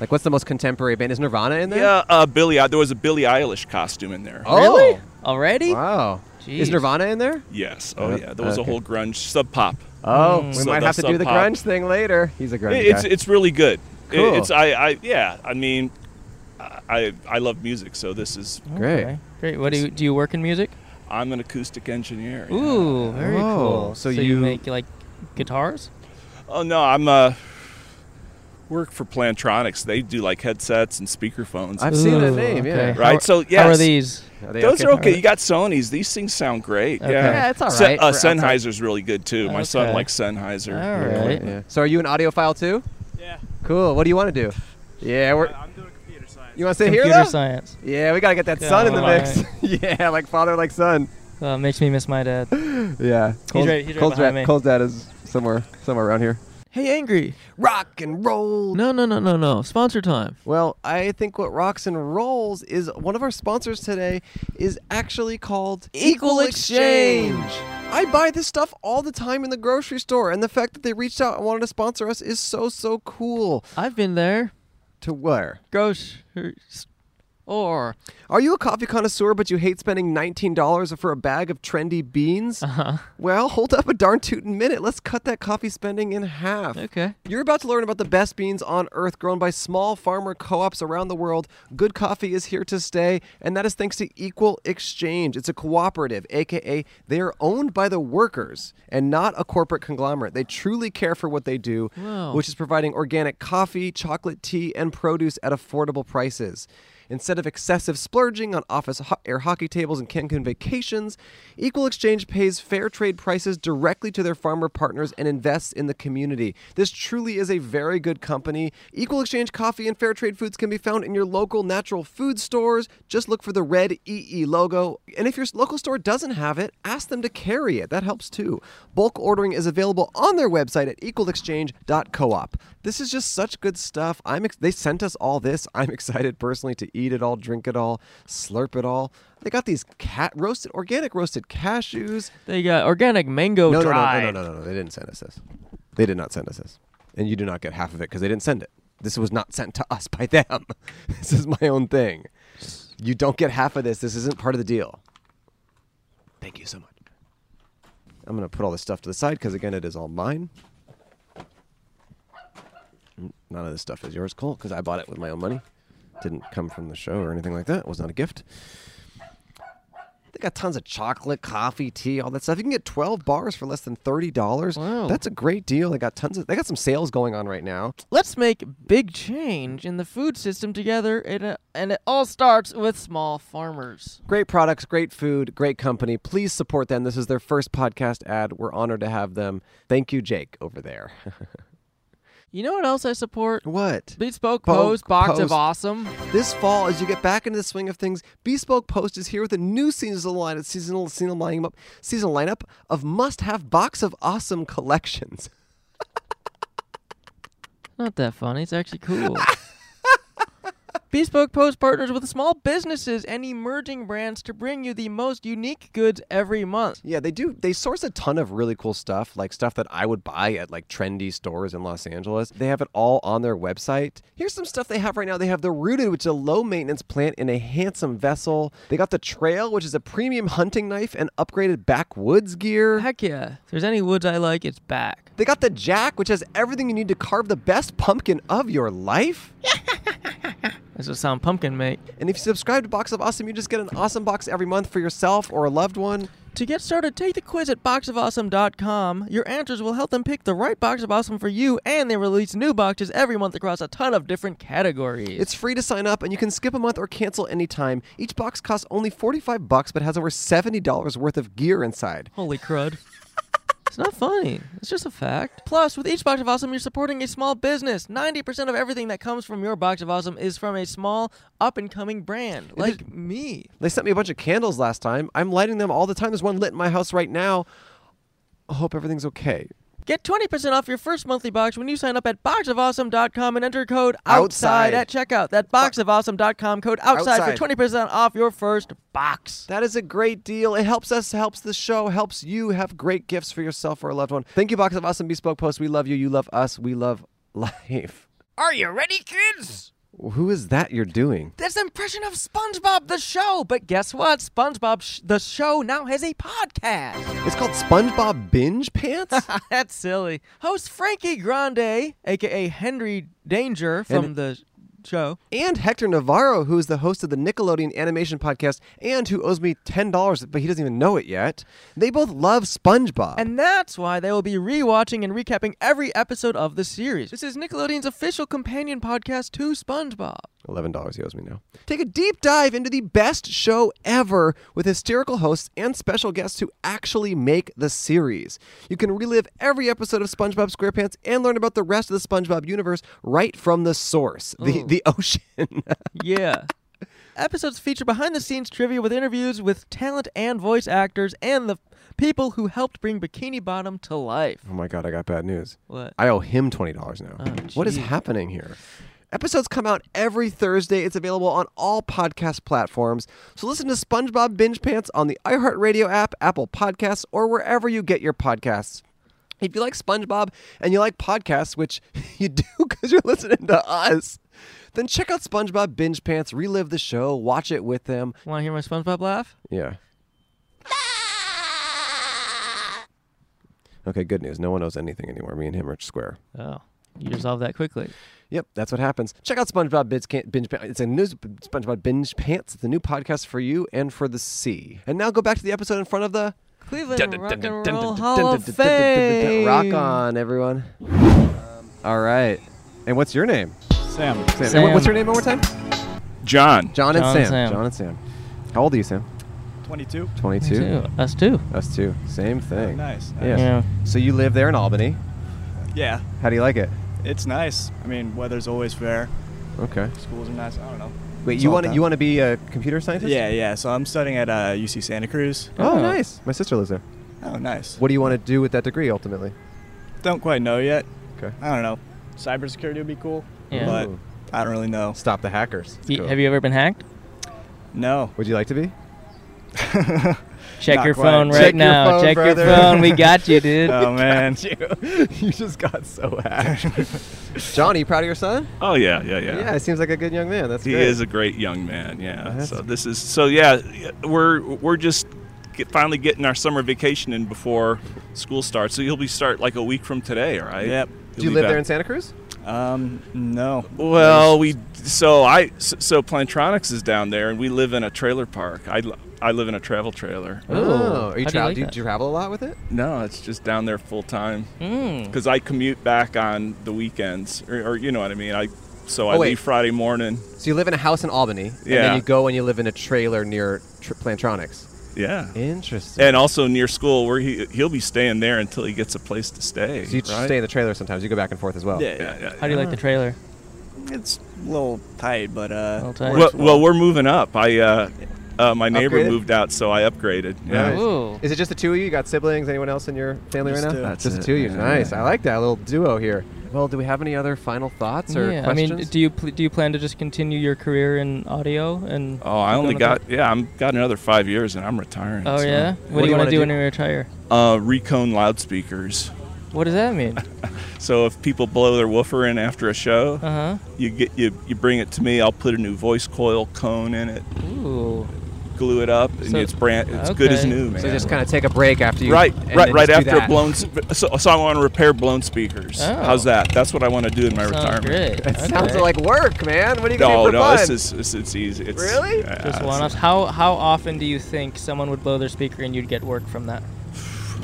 S2: Like what's the most contemporary band? Is Nirvana in there?
S8: Yeah, uh, Billy. There was a Billie Eilish costume in there.
S2: Oh.
S5: Really? Already?
S2: Wow. Is
S5: Jeez.
S2: Nirvana in there?
S8: Yes. Oh
S2: Uh,
S8: yeah. There was
S2: okay.
S8: a whole grunge sub pop.
S5: Mm.
S2: Oh, we
S8: So
S2: might have
S8: that's
S2: to do
S8: Sub
S2: the
S8: Pop.
S2: grunge thing later. He's a grunge guy.
S8: It's it's really good. It-
S2: Cool.
S8: It's I, I yeah. I mean, I I love music, so this is
S2: Great.
S5: Okay. Great. What do you do? You work in music?
S8: I'm an acoustic engineer.
S5: Ooh, very
S2: Oh,
S5: cool.
S2: so
S5: you,
S2: you-
S5: make like guitars?
S8: Oh no, I'm uh work for Plantronics. They do like headsets and speakerphones.
S2: I've seen that
S5: Ooh,
S2: name, yeah.
S5: How
S8: Right,
S5: are-
S8: so
S5: How are
S8: yes.
S5: these?
S2: Are they
S8: Those
S2: okay?
S8: are okay. You got Sony's. These things sound great.
S5: Okay.
S8: Yeah.
S5: Yeah,
S2: it's all
S8: Se-
S2: right
S8: uh,
S2: for outside.
S8: Sennheiser's really good too. My son
S5: Okay.
S8: likes Sennheiser.
S5: All
S2: Yeah,
S5: right.
S2: yeah. So are you an audiophile too?
S8: Yeah.
S2: Cool. What do you want to do? Yeah, we're.
S8: I'm doing computer science.
S2: You want to stay
S5: Computer
S2: here though?
S5: science.
S2: Yeah, we gotta get that son in the mix. yeah, like father, like son.
S5: Uh, makes me miss my dad.
S2: Yeah. Cole's,
S5: right- he's right
S2: Cole's
S5: behind
S2: dad,
S5: me.
S2: Cole's dad is somewhere, somewhere around here.
S5: Hey, angry.
S2: Rock and roll.
S5: No, no, no, no, no. Sponsor time.
S2: Well, I think what rocks and rolls is one of our sponsors today is actually called
S1: Equal
S2: I buy this stuff all the time in the grocery store, and the fact that they reached out and wanted to sponsor us is so so cool.
S5: I've been there.
S2: To where?
S5: Grocery or
S2: Are you a coffee connoisseur but you hate spending $19 for a bag of trendy beans? Uh-huh. Well, hold up a darn tootin' minute. Let's cut that coffee spending in half.
S5: okay.
S2: You're about to learn about the best beans on earth grown by small farmer co ops around the world. Good coffee is here to stay, and that is thanks to Equal Exchange. It's a cooperative, aka they are owned by the workers and not a corporate conglomerate. They truly care for what they do,
S5: Wow.
S2: which is providing organic coffee, chocolate, tea, and produce at affordable prices. Instead of excessive splurging on office ho- air hockey tables and Cancun vacations, Equal Exchange pays fair trade prices directly to their farmer partners and invests in the community. This truly is a very good company. Equal Exchange coffee and fair trade foods can be found in your local natural food stores. Just look for the red EE logo. And if your local store doesn't have it, ask them to carry it. That helps too. Bulk ordering is available on their website at equalexchange.coop. This is just such good stuff. I'm ex- they sent us all this. I'm excited personally to eat it all, drink it all, slurp it all. They got these cat roasted organic roasted cashews.
S5: They got organic mango
S2: No, no,
S5: dry.
S2: no, no, no, no, no, no. They didn't send us this. They did not send us this. And you do not get half of it because they didn't send it. This was not sent to us by them. this is my own thing. You don't get half of this. This isn't part of the deal. Thank you so much. I'm going to put all this stuff to the side because, again, it is all mine. N- None of this stuff is yours, Cole, because I bought it with my own money. Didn't come from the show or anything like that. It was not a gift. They got tons of chocolate, coffee, tea, all that stuff. You can get 12 bars for less than $30.
S5: Wow.
S2: That's a great deal. They got tons of they got some sales going on right now.
S5: Let's make big change in the food system together, and, uh, and it all starts with small farmers.
S2: Great products, great food, great company. Please support them. This is their first podcast ad. We're honored to have them. Thank you, Jake, over there.
S5: You know what else I support?
S2: what?
S5: Bespoke
S2: Poke,
S5: Pose Box of
S2: Post.
S5: Awesome.
S2: This fall, as you get back into the swing of things, Bespoke Post is here with a new seasonal lineup, seasonal, seasonal lineup, seasonal lineup of must-have box of awesome collections.
S5: Not that funny. It's actually cool. Bespoke Post partners with small businesses and emerging brands to bring you the most unique goods every month.
S2: Yeah, they do. They source a ton of really cool stuff, like stuff that I would buy at like trendy stores in Los Angeles. They have it all on their website. Here's some stuff they have right now. They have the Rooted, which is a low maintenance plant in a handsome vessel. They got the Trail, which is a premium hunting knife and upgraded backwoods gear.
S5: Heck yeah. If there's any woods I like, it's back.
S2: They got the Jack, which has everything you need to carve the best pumpkin of your life.
S5: That's what sound pumpkin make.
S2: And if you subscribe to Box of Awesome, you just get an awesome box every month for yourself or a loved one.
S5: To get started, take the quiz at boxofawesome.com. Your answers will help them pick the right box of awesome for you, and they release new boxes every month across a ton of different categories.
S2: It's free to sign up, and you can skip a month or cancel anytime. Each box costs only 45 bucks, but has over $70 worth of gear inside.
S5: Holy crud. it's not funny. It's just a fact. Plus, with each box of awesome, you're supporting a small business. 90% of everything that comes from your box of awesome is from a small, up and coming brand like me.
S2: They sent me a bunch of candles last time. I'm lighting them all the time. There's one lit in my house right now. I hope everything's okay.
S5: Get 20% off your first monthly box when you sign up at boxofawesome.com and enter code
S2: Outside.
S5: outside, at checkout. That boxofawesome.com code outside,
S2: Outside.
S5: for 20% off your first box.
S2: That is a great deal. It helps us, helps the show, helps you have great gifts for yourself or a loved one. Thank you, Box of Awesome Bespoke Post. We love you. You love us. We love life.
S5: Are you ready, kids?
S2: Who is that you're doing?
S5: That's the impression of SpongeBob the show. But guess what? SpongeBob sh- the show now has a podcast.
S2: It's called SpongeBob Binge Pants?
S5: That's silly. Host Frankie Grande, aka Henry Danger from
S2: And-
S5: the show.
S2: and Hector Navarro, who is the host of the Nickelodeon animation podcast and who owes me $10, but he doesn't even know it yet. They both love SpongeBob.
S5: And that's why they will be rewatching and recapping every episode of the series. This is Nickelodeon's official companion podcast to SpongeBob.
S2: $11 he owes me now. Take a deep dive into the best show ever with hysterical hosts and special guests who actually make the series. You can relive every episode of SpongeBob SquarePants and learn about the rest of the SpongeBob universe right from the source, the, the ocean.
S5: Yeah. Episodes feature behind the scenes trivia with interviews with talent and voice actors and the people who helped bring Bikini Bottom to life.
S2: oh my God, I got bad news.
S5: What?
S2: I owe him twenty dollars now. what is happening here? Episodes come out every Thursday. It's available on all podcast platforms. So listen to SpongeBob Binge Pants on the iHeartRadio app, Apple Podcasts, or wherever you get your podcasts. If you like SpongeBob and you like podcasts, which you do because you're listening to us, then check out SpongeBob Binge Pants, relive the show, watch it with them.
S5: Want to hear my SpongeBob laugh?
S2: Yeah. Okay, good news. No one knows anything anymore. Me and him are square.
S5: Oh, you resolve that quickly.
S2: Yep, that's what happens. Check out SpongeBob Binge, Can- Binge Pants. It's a new SpongeBob Binge Pants. It's a new podcast for you and for the sea. And now go back to the episode in front of the
S5: Cleveland Rock and Roll Hall of Fame.
S2: Rock on, everyone. All right. And what's your name?
S8: Sam.
S2: Sam. And
S5: Sam.
S2: what's your name one more time?
S8: John.
S2: John and
S5: John
S2: Sam.
S5: and Sam.
S2: John and Sam. How old are you, Sam?
S8: 22.
S2: 22.
S5: Us too.
S2: Us too.
S9: Oh,
S2: Same thing.
S8: Nice.
S2: Yeah.
S5: Yeah.
S2: So you live there in Albany.
S9: Yeah,
S2: How do you like it?
S9: it's nice. I mean, weather's always fair.
S2: Okay.
S9: Schools are nice. I don't know.
S2: Wait,
S9: It's
S2: you
S9: all
S2: want to
S9: done.
S2: you want to be a computer scientist?
S9: Yeah, yeah. So I'm studying at uh, UC Santa Cruz.
S2: Oh,
S5: Oh.
S2: nice. My sister lives there.
S9: Oh, nice.
S2: What do you want to do with that degree ultimately?
S9: Don't quite know yet.
S2: Okay.
S9: I don't know. Cybersecurity would be cool,
S5: Yeah.
S9: but
S2: Ooh.
S9: I don't really know.
S2: Stop the hackers.
S5: Y- Have you ever been hacked?
S9: No.
S2: Would you like to be?
S5: Check
S9: Not
S5: your
S9: quite.
S5: phone right
S2: Check your
S5: now.
S2: phone,
S5: Check
S2: brother.
S5: your phone. We got you, dude.
S9: Oh man.
S2: you just got so hacked. John, are you proud of your son?
S8: Oh yeah, yeah, yeah.
S2: he seems like a good young man. That's
S8: He
S2: great.
S8: is a great young man. Yeah.
S2: That's-
S8: so this is so yeah. yeah, We're we're just get, finally getting our summer vacation in before school starts. So you'll be start like a week from today, all right?
S9: Yep.
S2: Do you live there in Santa Cruz?
S9: Um, no.
S8: Well, we so I so, so Plantronics is down there, and we live in a trailer park. I li- I live in a travel trailer.
S2: Oh, are you
S5: Oh. How do you
S2: travel?
S5: like
S2: Do you,
S5: that?
S2: do you travel a lot with it? Mm.
S8: No, it's just down there full time because I commute back on the weekends, or, or you know what I mean. I so I
S2: Oh, wait.
S8: leave Friday morning.
S2: So you live in a house in Albany, and then
S8: Yeah.
S2: you go and you live in a trailer near tr- Plantronics.
S8: Yeah.
S2: Interesting.
S8: And also near school, where he he'll be staying there until he gets a place to stay.
S2: so you
S8: right?
S2: stay in the trailer sometimes. You go back and forth as well.
S9: Yeah,
S8: Yeah,
S9: yeah.
S8: yeah,
S5: How do you like the trailer?
S9: It's a little tight, but uh.
S5: Little tight.
S8: Well, well, we're moving up. I uh, uh, my neighbor
S2: Upgraded?
S8: moved out, so I upgraded. Yeah.
S2: Nice.
S5: Ooh.
S2: Is it just the two of you? You got siblings? Anyone else in your family
S9: Just
S2: right now?
S9: two. That's
S2: just the two of you. Nice. I like that little duo here. Well, do we have any other final thoughts or
S5: yeah.
S2: questions?
S5: I mean, do you pl- do you plan to just continue your career in audio and?
S8: Oh, I
S5: keep
S8: only
S5: going with
S8: got yeah, I'm got another five years, and I'm retiring.
S5: that? Oh
S8: so.
S5: yeah. What, do you want to do when you retire?
S8: Uh, recone loudspeakers.
S5: What does that mean?
S8: So if people blow their woofer in after a show,
S5: Uh
S8: you get you you bring it to me. I'll put a new voice coil cone in it.
S5: huh. Ooh.
S8: glue it up, and
S5: So-
S8: it's brand, it's good as
S5: okay.
S8: new, man.
S2: So just kind of take a break after you.
S8: right,
S2: and
S8: right,
S2: then
S8: right
S2: just do
S8: after a
S2: that.
S8: blown s- so- a song I want to repair blown speakers.
S5: Oh.
S8: How's that? That's what I want to do in my
S5: Sounds
S8: retirement.
S5: great.
S2: That sounds
S5: Okay.
S2: like work, man. What are you gonna
S8: No,
S2: do for
S8: no,
S2: fun?
S8: this is this, it's easy. It's,
S2: Really?
S8: yeah,
S5: Just
S8: it's
S5: one offs. How how often do you think someone would blow their speaker and you'd get work from that?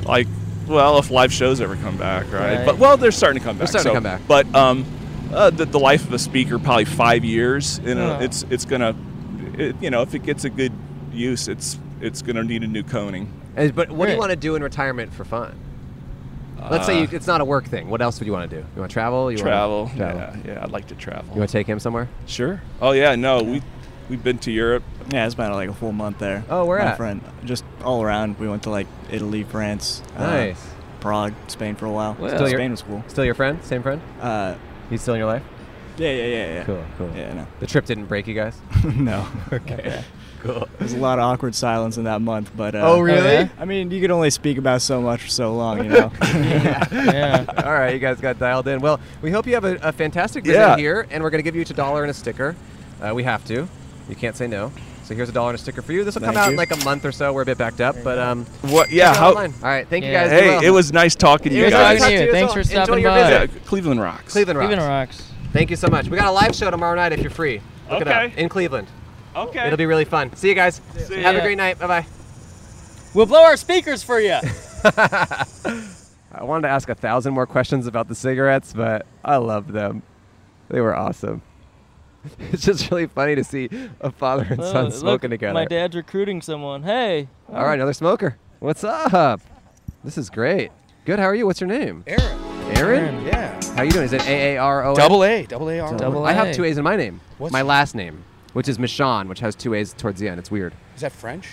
S8: like well if live shows ever come back right,
S5: Right.
S8: but well they're starting to come back
S2: starting to
S8: so-
S2: come back.
S8: but um uh, the, the life of a speaker probably five years you know
S5: Oh.
S8: it's it's gonna it, you know if it gets a good use it's it's gonna need a new coning
S2: Uh, But what do you
S5: Right.
S2: want to do in retirement for fun? Let's
S8: Uh,
S2: say you, it's not a work thing. What else would you want to do? You want to travel? You wanna-
S8: travel,
S2: travel.
S8: yeah yeah i'd like to
S2: You
S8: travel
S2: want to take him somewhere?
S8: sure oh yeah no we we've been to europe
S9: Yeah, it's been like a full month there.
S2: Oh, where
S9: My
S2: at?
S9: friend, just all around. We went to like Italy, France, uh,
S2: Nice.
S9: Prague, Spain for a while.
S5: Well.
S2: Still your-
S9: Spain was cool.
S2: Still your friend? Same friend?
S9: Uh,
S2: He's still in your life?
S9: yeah, yeah, yeah, yeah.
S2: Cool, cool.
S9: Yeah,
S2: The trip didn't break you guys?
S9: no, no.
S2: Okay. cool.
S9: There's a lot of awkward silence in that month, but uh,
S2: Oh, really?
S5: yeah?
S9: I mean, you could only speak about so much for so long, you know.
S5: Yeah.
S2: All right, you guys got dialed in. Well, we hope you have a, a fantastic visit
S8: Yeah.
S2: here, and we're going to give you each a dollar and a sticker. Uh, we have to. You can't say no. So here's a dollar and a sticker for you. This will come
S9: Thank
S2: out in
S9: you.
S2: like a month or so. We're a bit backed up, but um,
S8: what yeah
S2: check it
S8: how
S2: online. All right, thank
S5: Yeah.
S2: you guys.
S8: hey
S2: Be well.
S8: it was nice talking to
S2: It
S8: you
S2: was
S8: guys
S2: nice
S5: talking
S2: talking
S5: to you.
S2: to
S5: Thanks
S2: as
S5: for
S2: well.
S5: stopping
S2: Enjoy your
S5: by.
S2: visit.
S8: yeah, cleveland rocks
S2: Cleveland Rocks.
S5: Even rocks.
S2: Thank you so much. We got a live show tomorrow night if you're free. Look it up
S8: Okay.
S2: in Cleveland.
S8: okay
S2: It'll be really fun. See you guys.
S8: See
S2: Have a
S5: ya.
S2: great night. Bye bye.
S5: We'll blow our speakers for you.
S2: I wanted to ask a thousand more questions about the cigarettes, but I loved them. They were awesome. It's just really funny to see a father and son smoking together.
S5: Uh, My dad's recruiting someone. Hey.
S2: All right, another smoker. What's up? This is great. Good. How are you? What's your name?
S10: Aaron.
S2: Aaron.
S10: Yeah.
S2: How you doing? Is it A A R O? N?
S10: Double A. Double A R.
S5: Double
S2: I have
S5: A.
S2: two A's in my name.
S10: What's-
S2: my last name, which is Michon, which has two A's towards the end. It's weird.
S10: Is that French?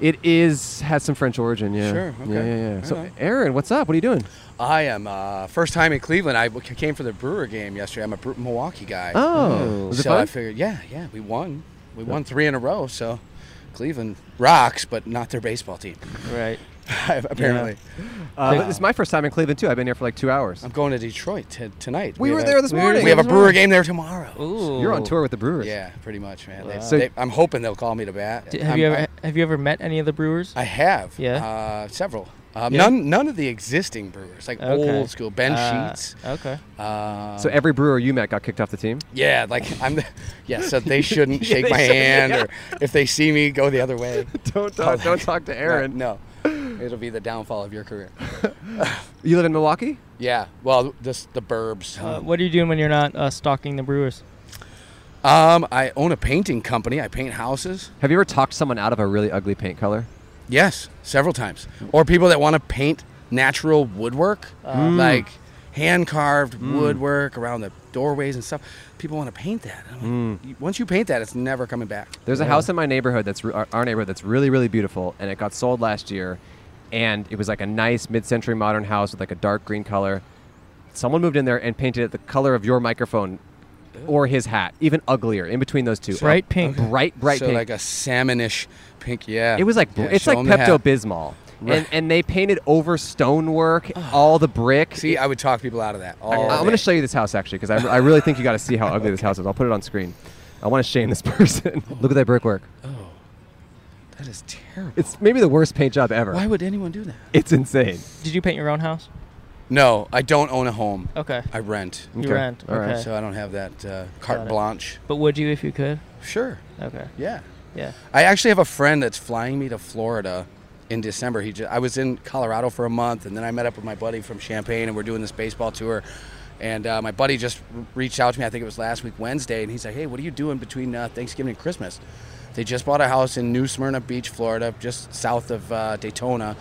S2: It is has some French origin. Yeah.
S10: Sure, okay.
S2: Yeah, yeah, yeah. so,
S10: Alright.
S2: Aaron, what's up? What are you doing?
S10: I am uh, first time in Cleveland. I w- came for the Brewer game yesterday. I'm a Bre- Milwaukee guy. Mm.
S2: Oh, was it
S10: so I
S2: fun?
S10: figured, yeah, yeah, we won. We won three in a row. So Cleveland rocks, but not their baseball team.
S5: Right.
S10: apparently,
S2: Uh, this is my first time in Cleveland too. I've been here for like two hours.
S10: I'm going to Detroit t- tonight.
S2: We were
S10: have a-
S2: there this
S10: we-
S2: morning.
S10: We have a
S2: This morning.
S10: Brewer game there tomorrow.
S5: Ooh.
S2: You're on tour with the Brewers.
S10: Yeah, pretty much, man. They-
S2: So-
S10: they- I'm hoping they'll call me to bat.
S5: D- have
S10: I'm-
S5: you ever
S10: I-
S5: have you ever met any of the brewers?
S10: I have.
S5: Yeah?
S10: Uh, several. Um,
S5: Yeah.
S10: None, none of the existing brewers, like
S5: Okay.
S10: old school Ben
S5: Uh,
S10: Sheets.
S5: Okay.
S10: Uh,
S2: So every brewer you met got kicked off the team.
S10: yeah, like I'm the, yeah. So they shouldn't shake
S2: they
S10: my
S2: shouldn't,
S10: hand, or if they see me, go the other way.
S2: Don't talk. Don't talk to Aaron.
S10: Oh. No, no. it'll be the downfall of your career.
S2: You live in Milwaukee.
S10: Yeah. Well, just the burbs.
S5: Uh, what are you doing when you're not uh, stalking the brewers?
S10: Um, I own a painting company. I paint houses.
S2: Have you ever talked someone out of a really ugly paint color?
S10: Yes, several times. Or people that want to paint natural woodwork,
S2: Mm.
S10: like hand carved woodwork around the doorways and stuff. People want to paint that. And I'm
S2: Mm.
S10: like, "You- Once you paint that, it's never coming back.
S2: There's a house in my neighborhood that's re- our, our neighborhood that's really really beautiful, and it got sold last year, and it was like a nice mid-century modern house with like a dark green color. Someone moved in there and painted it the color of your microphone or his hat, even uglier. In between those two,
S5: Bright pink.
S2: bright bright
S10: so
S2: pink.
S10: like a salmonish pink. Yeah.
S2: It was like
S10: Yeah,
S2: it's
S10: show
S2: like
S10: 'em the
S2: Pepto
S10: hat.
S2: Bismol, and and they painted over stonework, all the brick.
S10: See, I would talk people out of that. All
S2: I, am
S10: day.
S2: going to show you this house actually because I, I really think you got to see how ugly this house is. I'll put it on screen. I want to shame this person. Look at that brickwork.
S10: Oh, That is terrible.
S2: It's maybe the worst paint job ever.
S10: Why would anyone do that?
S2: It's insane.
S5: Did you paint your own house?
S10: No, I don't own a home.
S5: Okay.
S10: I rent.
S5: You
S2: Okay.
S5: rent.
S2: All right.
S5: Okay.
S10: So I don't have that uh,
S5: Got
S10: carte
S5: it.
S10: blanche.
S5: But would you if you could?
S10: Sure.
S5: Okay.
S10: Yeah.
S5: Yeah.
S10: I actually have a friend that's flying me to Florida in December. He just, I was in Colorado for a month, and then I met up with my buddy from Champaign, and we're doing this baseball tour. And uh, my buddy just r- reached out to me. I think it was last week Wednesday, and he's like, "Hey, what are you doing between uh, Thanksgiving and Christmas?" They just bought a house in New Smyrna Beach, Florida, just south of uh, Daytona.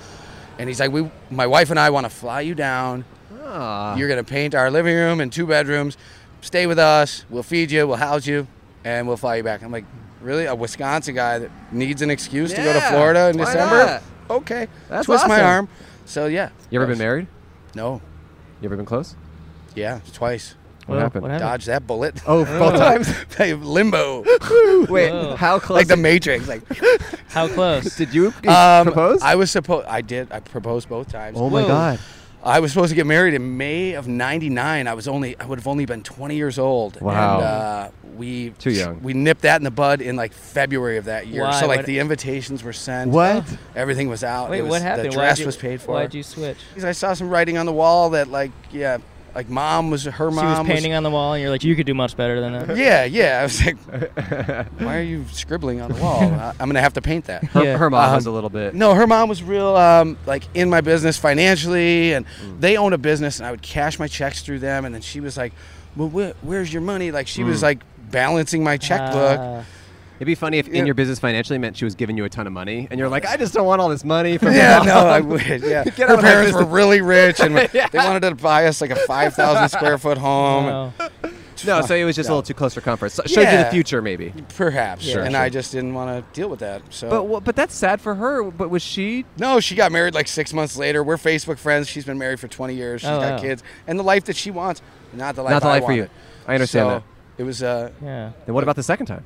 S10: And he's like, "We, my wife and I, want to fly you down.
S2: Ah.
S10: You're gonna paint our living room and two bedrooms. Stay with us. We'll feed you. We'll house you, and we'll fly you back." I'm like, "Really? A Wisconsin guy that needs an excuse to go to
S2: Yeah,
S10: Florida in
S2: why
S10: December? Okay,
S2: That's
S10: twist my
S2: awesome.
S10: arm." So yeah.
S2: You ever been married?
S10: No.
S2: You ever been close?
S10: Yeah, twice.
S2: What
S5: Well,
S2: happened?
S5: What happened?
S10: Dodge that bullet.
S2: Oh, both times.
S10: Limbo,
S2: Wait,
S5: Whoa.
S2: how close?
S10: like the Matrix. Like,
S5: How close?
S2: did you
S10: um,
S2: propose?
S10: I was supposed. I did. I proposed both times.
S2: oh my
S5: Whoa.
S2: god!
S10: I was supposed to get married in May of '99. I was only I would have only been 20 years old.
S2: Wow.
S10: And, uh, we
S2: Too young.
S10: We nipped that in the bud in like February of that year.
S5: Why?
S10: So like
S5: What-
S10: the invitations were sent.
S2: What?
S10: Everything was out.
S5: Wait,
S10: It was-
S5: what happened?
S10: The
S5: Why'd
S10: dress
S5: you-
S10: was paid for.
S5: Why'd you switch?
S10: Because I saw some writing on the wall that like yeah, like mom was her
S5: she was
S10: mom
S5: painting on the wall, and you're like, you could do much better than that.
S10: yeah, yeah. I was like, why are you scribbling on the wall? I- I'm gonna have to paint that.
S2: Her,
S5: Yeah.
S2: her mom
S10: Um,
S2: was a little bit.
S10: No, her mom was real, um, like in my business financially, and
S2: Mm.
S10: they owned a business, and I would cash my checks through them, and then she was like, "Well, wh- where's your money?" Like she
S2: Mm.
S10: was like balancing my checkbook.
S5: Ah.
S2: It'd be funny if
S10: Yeah.
S2: in your business financially meant she was giving you a ton of money, and you're like, I just don't want all this money. From
S10: yeah,
S2: my
S10: no,
S2: mom."
S10: I would. Yeah,
S2: Get out
S10: her
S2: of my
S10: parents were
S2: business.
S10: really rich, and they wanted to buy us like a five thousand square foot home. and
S5: Wow.
S2: no. So it was just a little too close for comfort. So, Showed you the
S10: Yeah.
S2: future, maybe.
S10: Perhaps,
S2: Sure,
S10: and
S2: sure.
S10: I just didn't want to deal with that. So,
S2: But wha- but that's sad for her. But was she?
S10: No, she got married like six months later. We're Facebook friends. She's been married for 20 years. She's
S5: Oh,
S10: got
S5: wow.
S10: kids. And the life that she wants, not the life
S2: Not the
S10: I
S2: life for you.
S10: wanted.
S2: I understand
S10: So
S2: that.
S10: It was uh,
S5: yeah.
S2: Then what about the second time?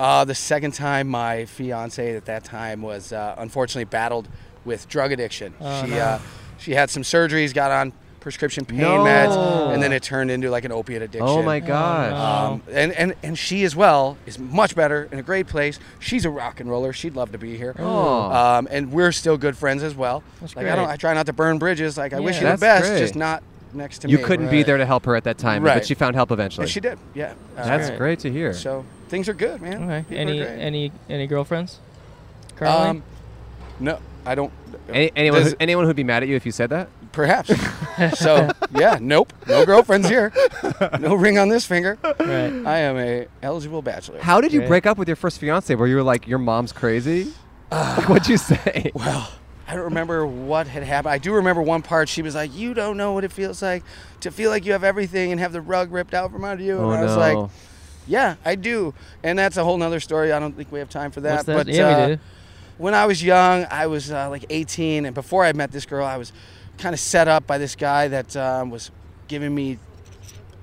S10: uh, the second time my fiance at that time was uh, unfortunately battled with drug addiction.
S5: Oh,
S10: she,
S5: no.
S10: uh, she had some surgeries, got on prescription pain
S2: No.
S10: meds, and then it turned into like an opiate addiction.
S2: Oh my gosh.
S5: no.
S10: Um, and, and, and she as well is much better in a great place. She's a rock and roller. She'd love to be here.
S2: Oh.
S10: Um, and we're still good friends as well.
S5: That's
S10: like
S5: great.
S10: I don't I try not to burn bridges. Like I wish
S5: Yeah.
S10: you the
S2: That's
S10: best,
S2: great.
S10: just not next to
S2: You
S10: me.
S2: couldn't be there to help her at that time, but
S10: Right.
S2: she found help eventually.
S10: And she did. Yeah. Uh,
S2: That's
S5: Right.
S2: great to hear.
S10: So things are good, man.
S5: Okay.
S10: People are
S5: Any
S10: great.
S5: any any girlfriends? Currently?
S10: um no, I don't uh,
S2: Any, anyone,
S10: Does-
S2: who- anyone who'd be mad at you if you said that?
S10: perhaps. so, yeah, nope. No girlfriends here. No ring on this finger.
S5: right.
S10: I am a eligible bachelor.
S2: How did you
S5: Great.
S2: break up with your first fiance? Where you were like, your mom's crazy?
S10: Ah,
S2: Like, what'd you say?
S10: I don't remember what had happened. I do remember one part. She was like, "You don't know what it feels like to feel like you have everything and have the rug ripped out from under you."
S2: Oh,
S10: and I was
S2: no.
S10: like, "Yeah, I do." And that's a whole nother story. I don't think we have time for that.
S5: What's that?
S10: But
S5: yeah,
S10: uh,
S5: we did.
S10: when I was young, I was uh, like 18, and before I met this girl, I was kind of set up by this guy that um, was giving me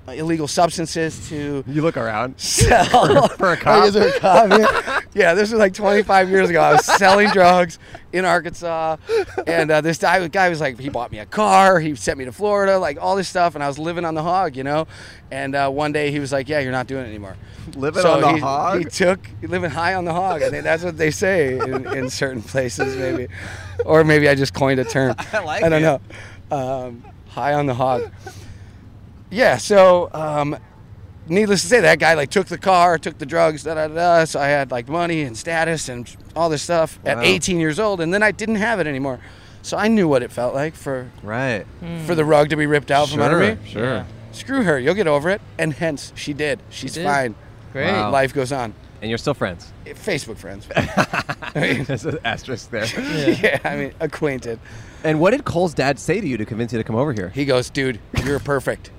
S10: uh, illegal substances to
S2: You look around.
S10: sell
S2: For a
S10: Like,
S2: cop?
S10: is there a cop here? yeah, this was like 25 years ago. I was selling drugs in Arkansas, and uh, this guy, guy was like, he bought me a car, he sent me to Florida, like all this stuff, and I was living on the hog, you know. And uh, one day he was like, "Yeah, you're not doing it anymore."
S2: Living
S10: So
S2: on the
S10: he,
S2: hog?
S10: He took living high on the hog. I think that's what they say in, in certain places, maybe, or maybe I just coined a term. I
S2: like
S10: don't
S2: it.
S10: know. Um, high on the hog. Yeah. So. Um, needless to say, that guy like took the car, took the drugs, da da da. So I had like money and status and all this stuff
S2: Wow.
S10: at 18 years old, and then I didn't have it anymore. So I knew what it felt like for
S2: Right.
S10: for the rug to be ripped out from under me.
S2: sure.
S5: Hmm. Yeah.
S10: Screw her, you'll get over it. And hence, she did. She's
S5: did.
S10: fine.
S5: Great.
S2: Wow.
S10: Life goes on.
S2: And you're still friends.
S10: Facebook friends.
S2: There's an asterisk there.
S5: Yeah.
S10: yeah, I mean, acquainted.
S2: and what did Cole's dad say to you to convince you to come over here?
S10: He goes, dude, you're perfect.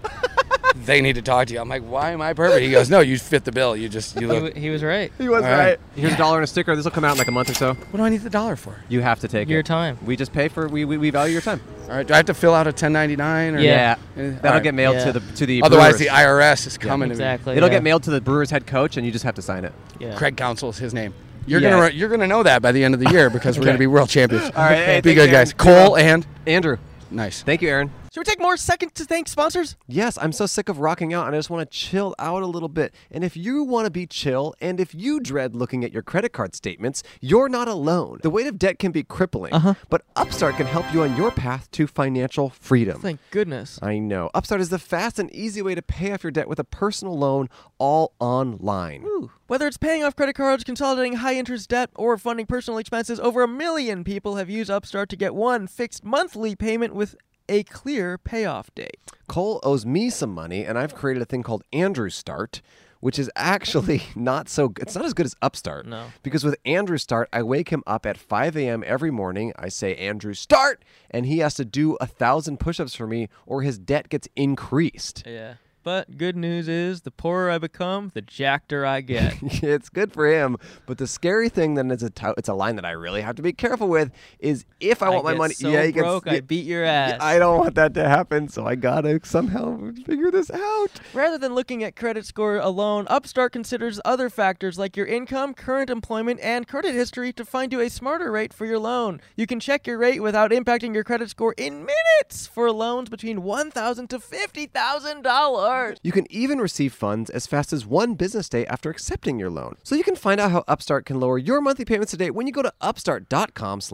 S10: they need to talk to you. I'm like, why am I perfect? He goes, no, you fit the bill. You just, you
S5: He,
S10: look.
S5: w- he was right.
S2: He was
S10: All right. right.
S2: Here's a dollar and a sticker. This will come out in like a month or so.
S10: What do I need the dollar for?
S2: You have to take
S5: Your
S2: it.
S5: time.
S2: We just pay for we we, we value your time.
S10: All right, do I have to fill out a 1099? Or
S5: Yeah.
S2: That'll
S10: Alright.
S2: get mailed
S5: Yeah.
S2: to the to the
S10: Otherwise,
S2: brewers.
S10: the IRS is coming
S5: Exactly.
S2: It'll
S5: yeah.
S2: get mailed to the Brewers head coach, and you just have to sign it.
S10: to
S5: Yeah.
S10: me. Craig Council is his name. You're
S2: Yeah.
S10: gonna re- you're gonna know that by the end of the year because we're gonna be world champions.
S2: All right, hey,
S10: be
S2: thanks,
S10: good, guys.
S2: Aaron.
S10: Cole and
S2: Andrew,
S10: nice.
S2: thank you, Aaron.
S5: Should we take more second to thank sponsors?
S2: Yes, I'm so sick of rocking out and I just want to chill out a little bit. And if you want to be chill and if you dread looking at your credit card statements, you're not alone. The weight of debt can be crippling, but Upstart can help you on your path to financial freedom.
S5: Thank goodness.
S2: I know. Upstart is the fast and easy way to pay off your debt with a personal loan all online.
S5: Ooh. Whether it's paying off credit cards, consolidating high interest debt, or funding personal expenses, over a million people have used Upstart to get one fixed monthly payment with a clear payoff date.
S2: Cole owes me some money, and I've created a thing called Andrew Start, which is actually not so good. It's not as good as Upstart.
S5: No.
S2: Because with Andrew Start, I wake him up at 5 a.m. every morning. I say, Andrew, start! And he has to do a thousand push ups for me, or his debt gets increased.
S5: Yeah. But good news is, the poorer I become, the jackeder I get.
S2: it's good for him. But the scary thing then is a t- it's a line that I really have to be careful with is if I want my
S5: get
S2: money,
S5: so
S2: yeah, you
S5: broke,
S2: can,
S5: I beat your ass.
S2: I don't want that to happen, so I gotta somehow figure this out.
S5: Rather than looking at credit score alone, Upstart considers other factors like your income, current employment, and credit history to find you a smarter rate for your loan. You can check your rate without impacting your credit score in minutes for loans between $1,000 to $50,000.
S2: You can even receive funds as fast as one business day after accepting your loan. So you can find out how Upstart can lower your monthly payments today when you go to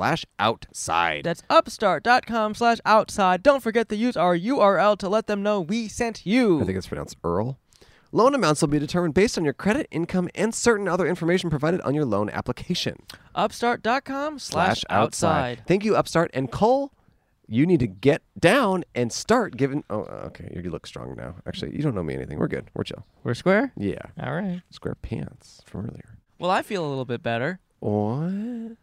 S2: upstart.com/outside.
S5: That's upstart.com slash outside. Don't forget to use our URL to let them know we sent you.
S2: I think it's pronounced Earl. Loan amounts will be determined based on your credit, income, and certain other information provided on your loan application.
S5: Upstart.com slash outside.
S2: Thank you, Upstart and Cole. You need to get down and start giving. Oh, okay. You look strong now. Actually, you don't know me anything. We're good. We're chill.
S5: We're square?
S2: Yeah.
S5: All right.
S2: Square pants from earlier.
S5: Well, I feel a little bit better
S2: What?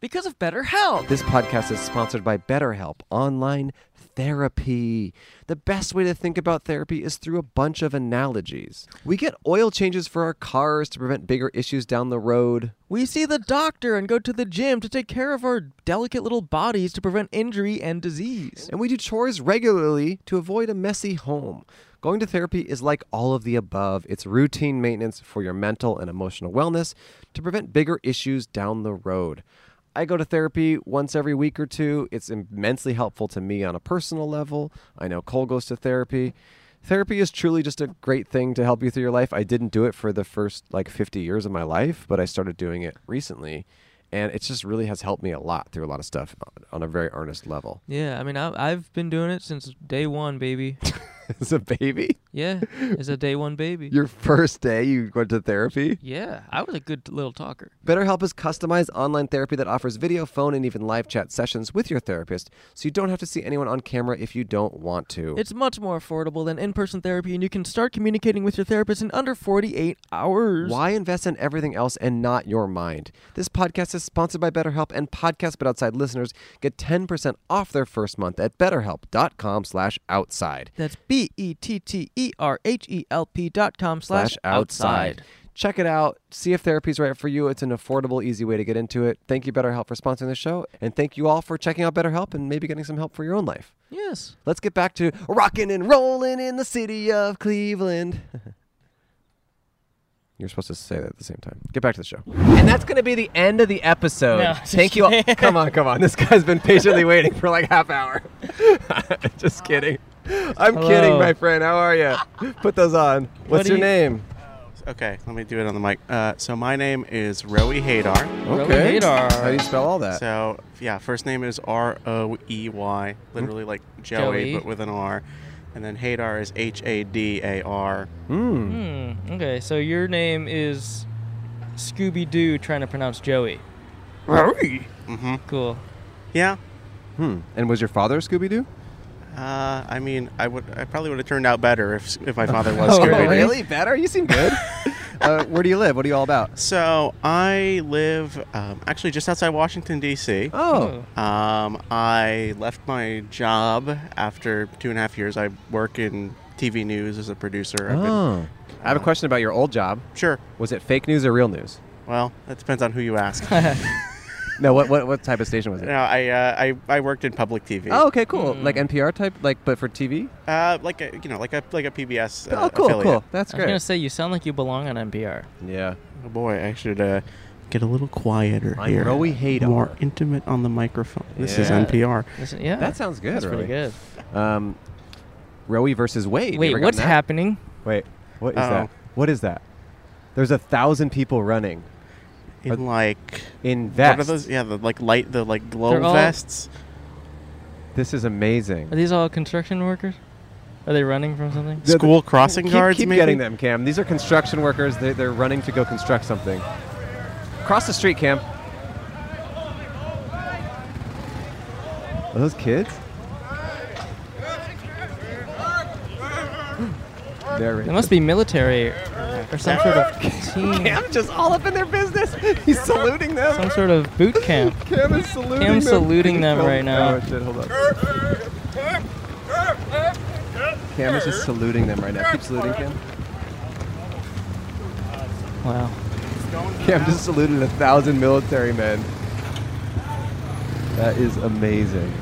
S5: because of better health.
S2: This podcast is sponsored by BetterHelp Online Therapy. The best way to think about therapy is through a bunch of analogies. We get oil changes for our cars to prevent bigger issues down the road.
S5: We see the doctor and go to the gym to take care of our delicate little bodies to prevent injury and disease.
S2: And we do chores regularly to avoid a messy home. Going to therapy is like all of the above. It's routine maintenance for your mental and emotional wellness to prevent bigger issues down the road. I go to therapy once every week or two. It's immensely helpful to me on a personal level. I know Cole goes to therapy. Therapy is truly just a great thing to help you through your life. I didn't do it for the first like 50 years of my life, but I started doing it recently. And it just really has helped me a lot through a lot of stuff on a very earnest level.
S5: Yeah, I mean, I, I've been doing it since day one, baby.
S2: As a baby?
S5: Yeah, as a day one baby.
S2: Your first day you went to therapy?
S5: yeah, I was a good little talker.
S2: BetterHelp is customized online therapy that offers video, phone, and even live chat sessions with your therapist, so you don't have to see anyone on camera if you don't want to.
S5: It's much more affordable than in person therapy, and you can start communicating with your therapist in under 48 hours.
S2: Why invest in everything else and not your mind? This podcast is sponsored by BetterHelp, and Podcast But Outside listeners get 10% off their first month at betterhelp.com slash outside.
S5: That's B E T T E R H E L P dot com slash outside.
S2: Check it out. See if therapy's right for you. It's an affordable, easy way to get into it. Thank you, BetterHelp, for sponsoring the show. And thank you all for checking out BetterHelp and maybe getting some help for your own life.
S5: Yes.
S2: Let's get back to rocking and rolling in the city of Cleveland. You're supposed to say that at the same time. Get back to the show.
S11: Oh,
S2: And that's going to be the end of the episode.
S5: No,
S2: Thank you all. Come on, come on. This guy's been patiently waiting for like half hour. just kidding. I'm kidding,
S5: Hello.
S2: my friend. How are you? Put those on. What's your
S5: Buddy.
S2: name?
S9: Okay, let me do it on the mic. Uh, so my name is Roe Hadar.
S2: Okay.
S5: Radar.
S2: How do you spell all that?
S9: So yeah, first name is R O E Y, literally like Joey,
S5: Joey.
S9: but with an R, and then Hadar is H A D A R.
S2: Hmm.
S5: Hmm. Okay, so your name is Scooby Doo trying to pronounce Joey.
S9: Mm-hmm.
S5: Cool.
S9: Yeah.
S2: Hmm. And was your father Scooby Doo?
S9: Uh, I mean, I would, I probably would have turned out better if, if my father was
S5: Oh,
S9: Scooby.
S5: really?
S2: Better? You seem good. uh, where do you live? What are you all about?
S9: So I live um, actually just outside Washington D.C.
S2: Oh.
S9: Um, I left my job after two and a half years. I work in TV news as a producer. I've
S2: Oh. I have a question about your old job.
S9: Been, sure.
S2: Was it fake news or real news?
S9: Well, that depends on who you ask.
S2: No, what what, what type of station was it?
S9: no, I, uh, I I worked in public TV.
S2: Oh, okay, cool.
S5: Hmm.
S2: Like NPR type, like but for TV.
S9: Uh, like a you know like a like a PBS. Uh,
S2: oh, cool,
S9: affiliate.
S2: cool. That's
S5: I was gonna
S2: great.
S5: say you sound like you belong on NPR.
S2: Yeah.
S9: Oh boy, I should uh, get a little quieter
S2: I'm
S9: here.
S2: Rowie Haydar.
S9: More intimate on the microphone. This is
S2: Yeah.
S9: NPR.
S5: Listen, yeah,
S2: That sounds good.
S5: that's
S2: really.
S5: pretty good.
S2: good. Um, Roe versus Wade. You ever
S5: Wait,
S2: gotten
S5: what's
S2: that?
S5: happening?
S2: Wait, what is
S9: Uh-oh.
S2: that? What is that? There's a thousand people running Are-
S9: In like
S2: in vests.
S9: what are those? Yeah, the like light the like glow
S5: They're all-
S9: vests.
S2: This is
S5: Are
S2: amazing.
S5: these all construction workers? Are they running from something?
S2: The-
S9: School crossing
S2: Keep,
S9: guards.
S2: keep
S9: maybe?
S2: getting them, Cam. These are construction workers. They, they're running to go construct something. Cross the street, Cam. Are those kids? They're
S5: They must be military or some sort of team,
S2: Cam's just all up in their business. He's saluting them.
S5: some sort of boot camp.
S2: Cam is saluting them.
S5: Cam's saluting them right now.
S2: Oh, shit, hold on. Camera's just saluting them right now. Keep saluting Cam.
S5: Wow.
S2: Cam just saluted a thousand military men. That is amazing.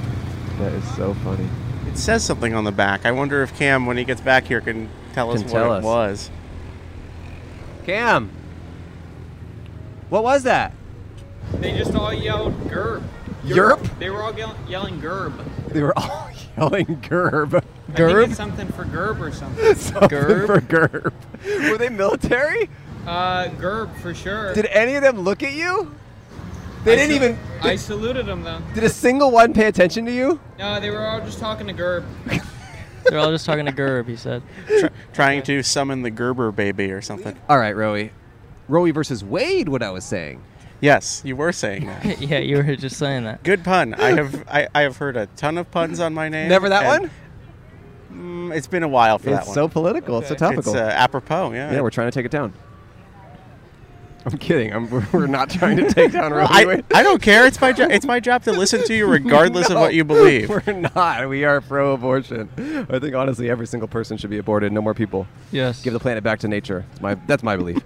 S2: That is so funny.
S9: It says something on the back. I wonder if Cam, when he gets back here, can tell us
S2: Can
S9: what
S2: tell
S9: it
S2: us.
S9: was.
S2: Cam, what was that?
S12: They just all yelled "gerb."
S2: Yerp?
S12: They were all yell- yelling "gerb."
S2: They were all yelling "gerb."
S12: I think it's something for gerb or something.
S2: Something for gerb. Were they military?
S12: Uh, gerb for sure.
S2: Did any of them look at you? They
S12: I
S2: didn't
S12: sal-
S2: even.
S12: I saluted them though.
S2: Did a single one pay attention to you?
S12: No, they were all just talking to gerb.
S5: They're all just talking to Gerb, he said.
S9: Trying to summon the Gerber baby or something.
S2: All right, Rowie. Rowie versus Wade. What I was saying.
S9: Yes, you were saying that.
S5: yeah, you were just saying that.
S9: Good pun. I have I, I have heard a ton of puns on my name.
S2: Never that
S9: and- Mm, it's been a while for that
S2: It's
S9: one.
S2: so political. It's so topical.
S9: It's uh, apropos. Yeah.
S2: yeah, we're trying to take it down. I'm kidding. I'm, we're, we're not trying to take down Rowie.
S9: I,
S2: Wade.
S9: I don't care. It's my job. It's my job to listen to you regardless of
S2: No,
S9: what you believe.
S2: We're not. We are pro-abortion. I think honestly, every single person should be aborted. No more people.
S5: Yes.
S2: Give the planet back to nature. It's my, that's my belief.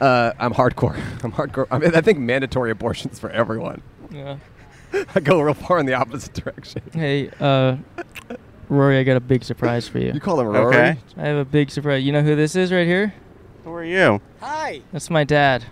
S2: uh, I'm hardcore. I'm hardcore. I, mean, I think mandatory abortions for everyone.
S5: Yeah.
S2: I go real far in the opposite direction.
S5: Hey, uh, Rory, I got a big surprise for you.
S2: You call him Rory?
S9: Okay.
S5: I have a big surprise. You know who this is right here?
S9: Who are you?
S5: That's my dad.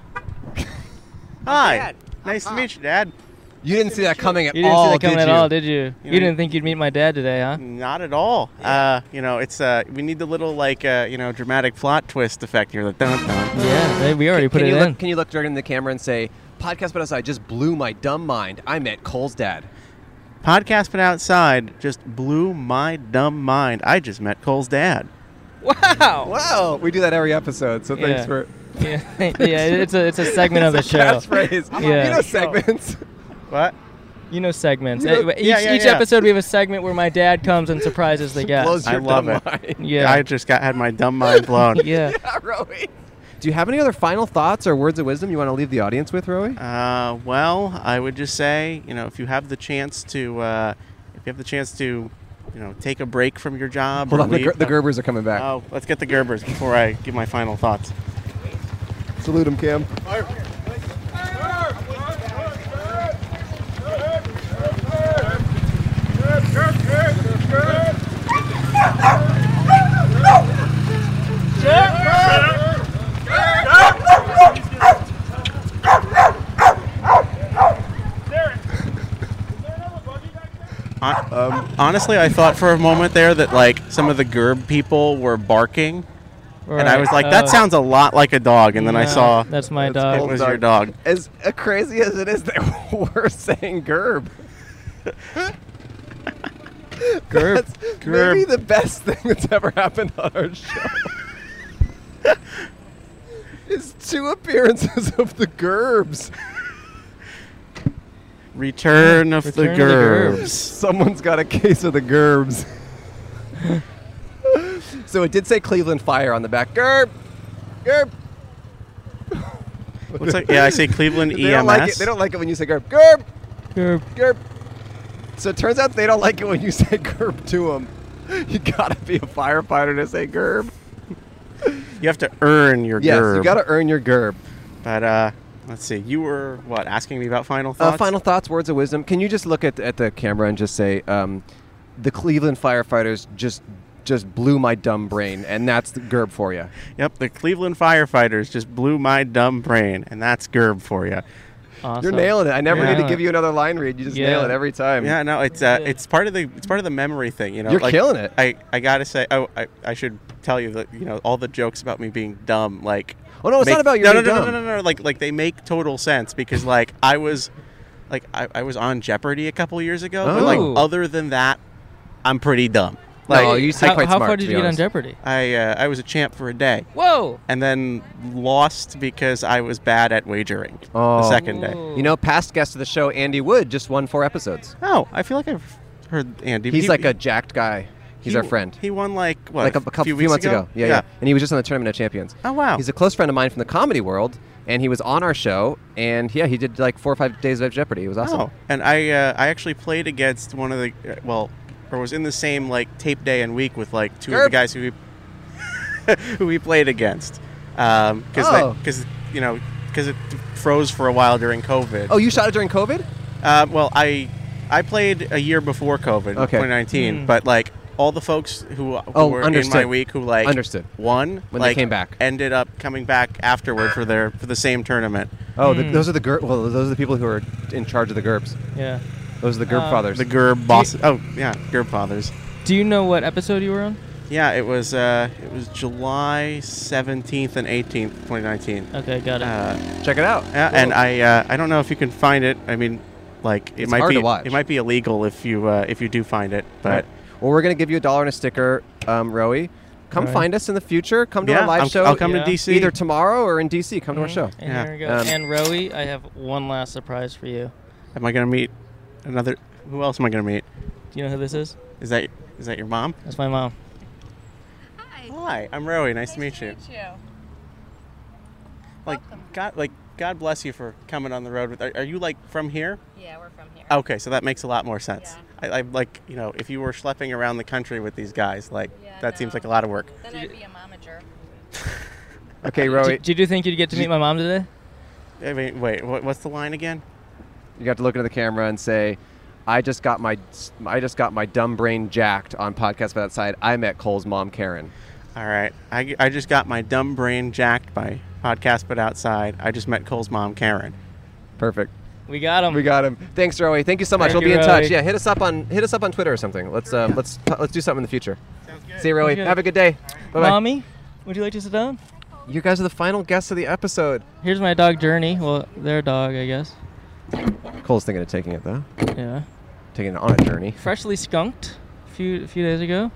S9: Hi. Nice to meet you, Dad.
S2: Uh-huh. You didn't see that coming at
S5: You didn't
S2: all,
S5: see that coming
S2: Oh, did
S5: at
S2: you?
S5: all, did you? You
S9: know,
S5: didn't think you'd meet my dad today, huh?
S9: Not at all. Uh, you know, it's uh, we need the little like uh, you know dramatic plot twist effect here. The dun dun.
S5: Yeah, they- we already put
S2: can
S5: it
S2: you
S5: in.
S2: look? Can you look directly in the camera and say, "Podcast, but outside just blew my dumb mind. I met Cole's dad."
S9: Podcast but outside just blew my dumb mind. I just met Cole's dad.
S12: Wow.
S2: Wow, we do that every episode. So thanks
S5: Yeah.
S2: for
S5: yeah, yeah, it's a it's a segment of the
S2: It's a
S5: show.
S2: Catchphrase.
S5: Yeah.
S2: You know segments.
S9: What?
S5: You know segments.
S2: You know-
S5: Uh, each
S9: Yeah, yeah,
S5: each
S9: yeah.
S5: episode we have a segment where my dad comes and surprises the guest.
S2: Blows
S9: I
S2: your
S9: love
S2: dumb
S9: it.
S2: mind.
S5: Yeah.
S9: I just got had my dumb mind blown.
S5: yeah.
S2: Rowie. Do you have any other final thoughts or words of wisdom you want to leave the audience with, Rowie?
S9: Uh, well, I would just say, you know, if you have the chance to, uh, if you have the chance to, you know, take a break from your job.
S2: Hold
S9: or
S2: on, the,
S9: leave-
S2: Ger- the Gerbers are coming back.
S9: Oh, let's get the Gerbers before I give my final thoughts.
S2: Salute them, Cam.
S9: Hon- um, honestly, I thought for a moment there that like some of the Gerb people were barking, and I
S5: Right,
S9: was like,
S5: uh,
S9: that sounds a lot like a dog. And then I
S5: no,
S9: saw it
S5: That's my dog.
S9: was your dog.
S2: Oh, As uh, crazy as it is that we're saying Gerb,
S5: Gerb.
S2: that's maybe the best thing that's ever happened on our show. is two appearances of the Gerbs.
S9: Return of
S5: Return of
S9: the
S5: the Gerb.
S9: Gerbs.
S2: Someone's got a case of the Gerbs. so it did say Cleveland Fire on the back. Gerb, Gerb.
S9: What's that? Yeah, I say Cleveland E
S2: They
S9: EMS.
S2: don't like it. They don't like it when you say Gerb, Gerb,
S5: Gerb.
S2: Gerb. So it turns out they don't like it when you say Gerb to them. You gotta be a firefighter to say Gerb.
S9: you have to earn your
S2: Yes,
S9: Gerb.
S2: you gotta earn your Gerb.
S9: But uh, let's see. You were what asking me about final
S2: Uh,
S9: thoughts?
S2: final thoughts, words of wisdom. Can you just look at, at the camera and just say, um, the Cleveland firefighters just just blew my dumb brain, and that's the Gerb for you.
S9: Yep, the Cleveland firefighters just blew my dumb brain, and that's Gerb for you.
S5: Awesome.
S2: You're nailing it. I never
S5: You're
S2: need to
S5: nailing
S2: give
S5: it.
S2: you another line read. You just
S5: Yeah.
S2: nail it every time.
S9: Yeah, no, it's uh, it's part of the it's part of the memory thing. You know,
S2: You're
S9: Like,
S2: killing it.
S9: I I gotta say, oh, I I should tell you that you know all the jokes about me being dumb, like.
S2: Oh no, it's
S9: make-
S2: not about you.
S9: no, no,
S2: being
S9: no,
S2: dumb.
S9: no, no, no, no, Like like they make total sense because like I was, like I, I was on Jeopardy a couple years ago, but
S2: Oh.
S9: like other than that, I'm pretty dumb. Like
S2: No, you say
S5: how,
S2: quite
S5: how
S2: smart,
S5: far
S2: to
S5: did
S2: be
S5: you get on
S2: honest.
S5: Jeopardy?
S9: I uh, I was a champ for a day.
S5: Whoa.
S9: and then lost because I was bad at wagering
S2: Oh.
S9: the second day.
S2: You know, past guest of the show, Andy Wood, just won four episodes.
S9: Oh, I feel like I've heard Andy.
S2: He's
S9: He-
S2: like a jacked guy. He's
S9: he-
S2: our friend.
S9: He won like what?
S2: like a, a couple few
S9: weeks
S2: months ago. Yeah, yeah, And he was just on the Tournament of Champions.
S9: Oh, wow.
S2: He's a close friend of mine from the comedy world, and he was on our show. And yeah, he did like four or five days of Jeopardy. It was awesome.
S9: Oh, and I uh, I actually played against one of the uh, well or was in the same like tape day and week with like two of
S2: Gerb.
S9: the guys who we who we played against. Um 'cause
S2: Oh.
S9: because you know because it froze for a while during COVID.
S2: Oh, you shot it during COVID?
S9: Uh, well, I I played a year before COVID,
S2: Okay.
S9: 2019,
S2: Mm.
S9: but like all the folks who, who
S2: Oh,
S9: were
S2: understood.
S9: in my week who like
S2: Understood.
S9: won
S2: When they
S9: like,
S2: came back.
S9: ended up coming back afterward for their for the same tournament.
S2: Oh,
S9: Hmm.
S2: the, those are the GURP. Well, those are the people who are in charge of the GURPs.
S12: Yeah.
S2: Those are the GURP
S12: Um,
S2: fathers.
S9: the GURB boss. Oh yeah, GURB fathers.
S12: Do you know what episode you were on?
S9: Yeah, it was uh, it was July 17th and 18th, 2019.
S12: Okay, got it.
S9: Uh,
S2: Check it out.
S9: Yeah, and I uh, I don't know if you can find it. I mean, like it
S2: It's
S9: might
S2: hard
S9: be
S2: to watch.
S9: it might be illegal if you uh, if you do find it, but.
S2: Right. Well, we're gonna give you a dollar and a sticker, um, Rowie. Come
S9: All right.
S2: find us in the future. Come to
S9: Yeah,
S2: our live
S9: I'll-
S2: show.
S9: I'll come to Yeah. DC.
S2: either tomorrow or in DC. Come to our show.
S12: And Mm-hmm. there we go.
S2: Um,
S12: and Rowie, I have one last surprise for you.
S9: Am I gonna meet another? Who else am I gonna meet?
S12: Do you know who this is?
S9: Is that is that your mom?
S12: That's my mom.
S9: Hi. Hi, I'm Rowie. Nice, to meet you. Like God, like God bless you for coming on the road with. Are, are you like from here?
S11: Yeah, we're from here.
S9: Okay, so that makes a lot more sense. I, I like you know if you were schlepping around the country with these guys, like that seems like a lot of work.
S11: Then I'd be a momager.
S2: Okay, Rowie.
S12: Did you think you'd get to meet my mom today?
S9: I mean, wait, what, what's the line again?
S2: You got to look into the camera and say, "I just got my, I just got my dumb brain jacked on podcast but outside. I met Cole's mom, Karen."
S9: All right, I, I just got my dumb brain jacked by podcast, but outside I just met Cole's mom, Karen.
S2: Perfect.
S12: We got him.
S2: We got him. Thanks, Rowie. Thank you so much.
S9: Thank
S2: we'll be
S9: you,
S2: in touch.
S9: Rowie.
S2: Yeah, hit us up on hit us up on Twitter or something. Let's um, let's t- let's do something in the future. Sounds good. See you, Rowie.
S12: Sounds good.
S2: Have a good day. Bye bye.
S12: Mommy, would you like to sit down?
S2: You guys are the final guests of the episode.
S12: Here's my dog Journey. Well, their dog, I guess.
S2: Cole's thinking of taking it though.
S12: Yeah.
S2: Taking it on a journey.
S12: Freshly skunked a few a few days ago.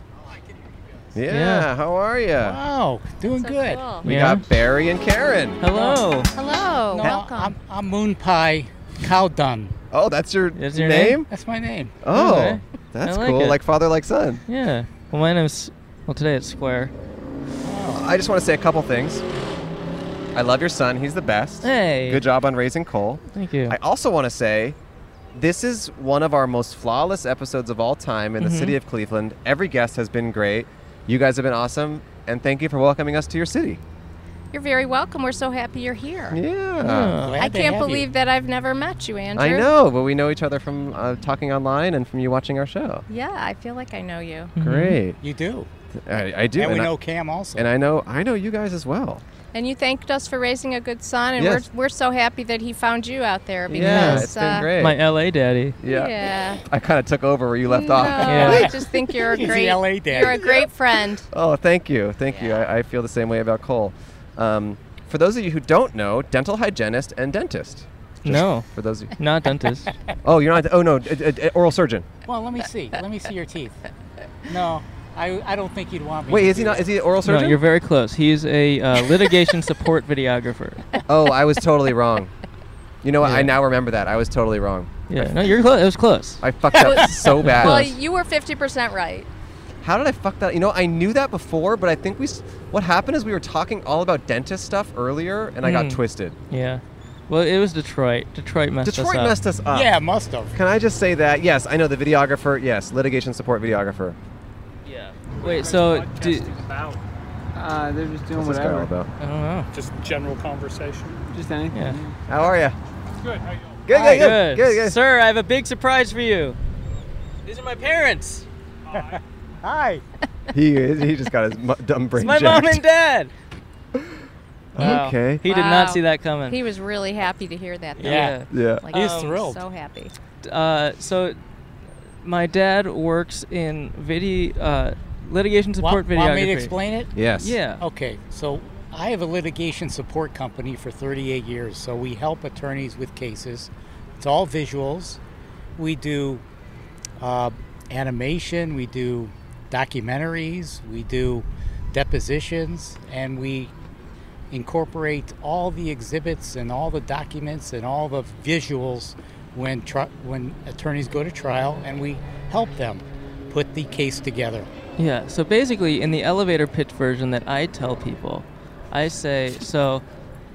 S2: Yeah.
S12: Yeah.
S2: How are you?
S13: Wow, doing good.
S2: We
S12: Yeah.
S2: got Barry and Karen.
S12: Hello.
S13: Hello. welcome. I'm, I'm Moon Pie Cow Dunn.
S2: Oh, that's your,
S13: that's
S12: your name? name?
S13: That's my name.
S2: Oh,
S12: Okay.
S2: that's
S12: I like
S2: cool.
S12: it.
S2: Like father, like son.
S12: Yeah. Well, my name's well today it's Square.
S2: Oh, I just want to say a couple things. I love your son. He's the best.
S12: Hey.
S2: Good job on raising Cole.
S12: Thank you.
S2: I also want to say this is one of our most flawless episodes of all time in the
S12: Mhm.
S2: city of Cleveland. Every guest has been great. You guys have been awesome. And thank you for welcoming us to your city.
S11: You're very welcome. We're so happy you're here.
S12: Hmm.
S2: Yeah.
S11: I can't believe that I've never met you, Andrew.
S2: I know, but we know each other from uh, talking online and from you watching our show.
S11: Yeah, I feel like I know you.
S12: Mm-hmm.
S2: Great.
S13: You do.
S2: I, I do.
S13: And we
S2: I-
S13: know Cam also.
S2: And I know I know you guys as well.
S11: And you thanked us for raising a good son, and
S2: Yes.
S11: we're, we're so happy that he found you out there because
S2: it's been
S11: uh,
S2: great.
S12: My LA daddy.
S11: Yeah.
S2: I kind of took over where you left
S11: No,
S2: off.
S11: I just think you're a
S13: He's the
S11: great
S13: LA daddy.
S11: you're a great friend.
S2: Oh, thank you. Thank you. I, I feel the same way about Cole. Um, for those of you who don't know, dental hygienist and dentist. Just
S12: No.
S2: For those of
S12: Not dentist.
S2: Oh, you're not. Oh, no. d- d- d- oral surgeon.
S13: Well, let me see. Let me see your teeth. No, I, I don't think you'd want me.
S2: Wait,
S13: to
S2: is he
S13: do
S2: not-
S13: that.
S2: is he oral
S12: No, you're very close. He's a uh, litigation support videographer.
S2: Oh, I was totally wrong. You know what? I
S12: Yeah.
S2: now remember that. I was totally wrong.
S12: Yeah, no, you're close. It was close.
S2: I fucked up so bad.
S11: Well, you were fifty percent right.
S2: How did I fuck that? You know, I knew that before, but I think we. s- What happened is we were talking all about dentist stuff earlier, and I got
S12: Mm.
S2: twisted.
S12: Yeah. Well, it was Detroit. Detroit messed us up.
S2: Detroit messed us up.
S13: Yeah, must have.
S2: Can I just say that? Yes, I know the videographer. Yes, litigation support videographer.
S12: Yeah. Wait, so do,
S14: about? Uh, they're just doing
S2: What's this guy all
S14: whatever.
S2: about?
S12: I don't know.
S14: Just general conversation. Just anything.
S12: Yeah.
S2: How are you?
S14: Good. How you
S2: Good,
S12: Hi.
S2: good, good, good, good.
S12: Sir, I have a big surprise for you. These are my parents.
S13: Hi.
S2: He is, he just got his mu- dumb brain
S12: It's my
S2: jacked.
S12: mom and dad. Wow.
S2: Okay.
S12: He did not
S11: Wow.
S12: see that coming.
S11: He was really happy to hear that. Though.
S12: Yeah. Yeah.
S11: Like,
S12: He's
S11: um,
S12: thrilled.
S11: So happy.
S12: uh, so my dad works in video uh, litigation
S13: want,
S12: support videography.
S13: want me to explain it?
S12: Yeah.
S13: Okay, so I have a litigation support company for 38 years, so we help attorneys with cases. It's all visuals. We do uh, animation, we do documentaries, we do depositions, and we incorporate all the exhibits and all the documents and all the visuals when tri- when attorneys go to trial, and we help them put the case together.
S12: Yeah. So basically, in the elevator pitch version that I tell people, I say, so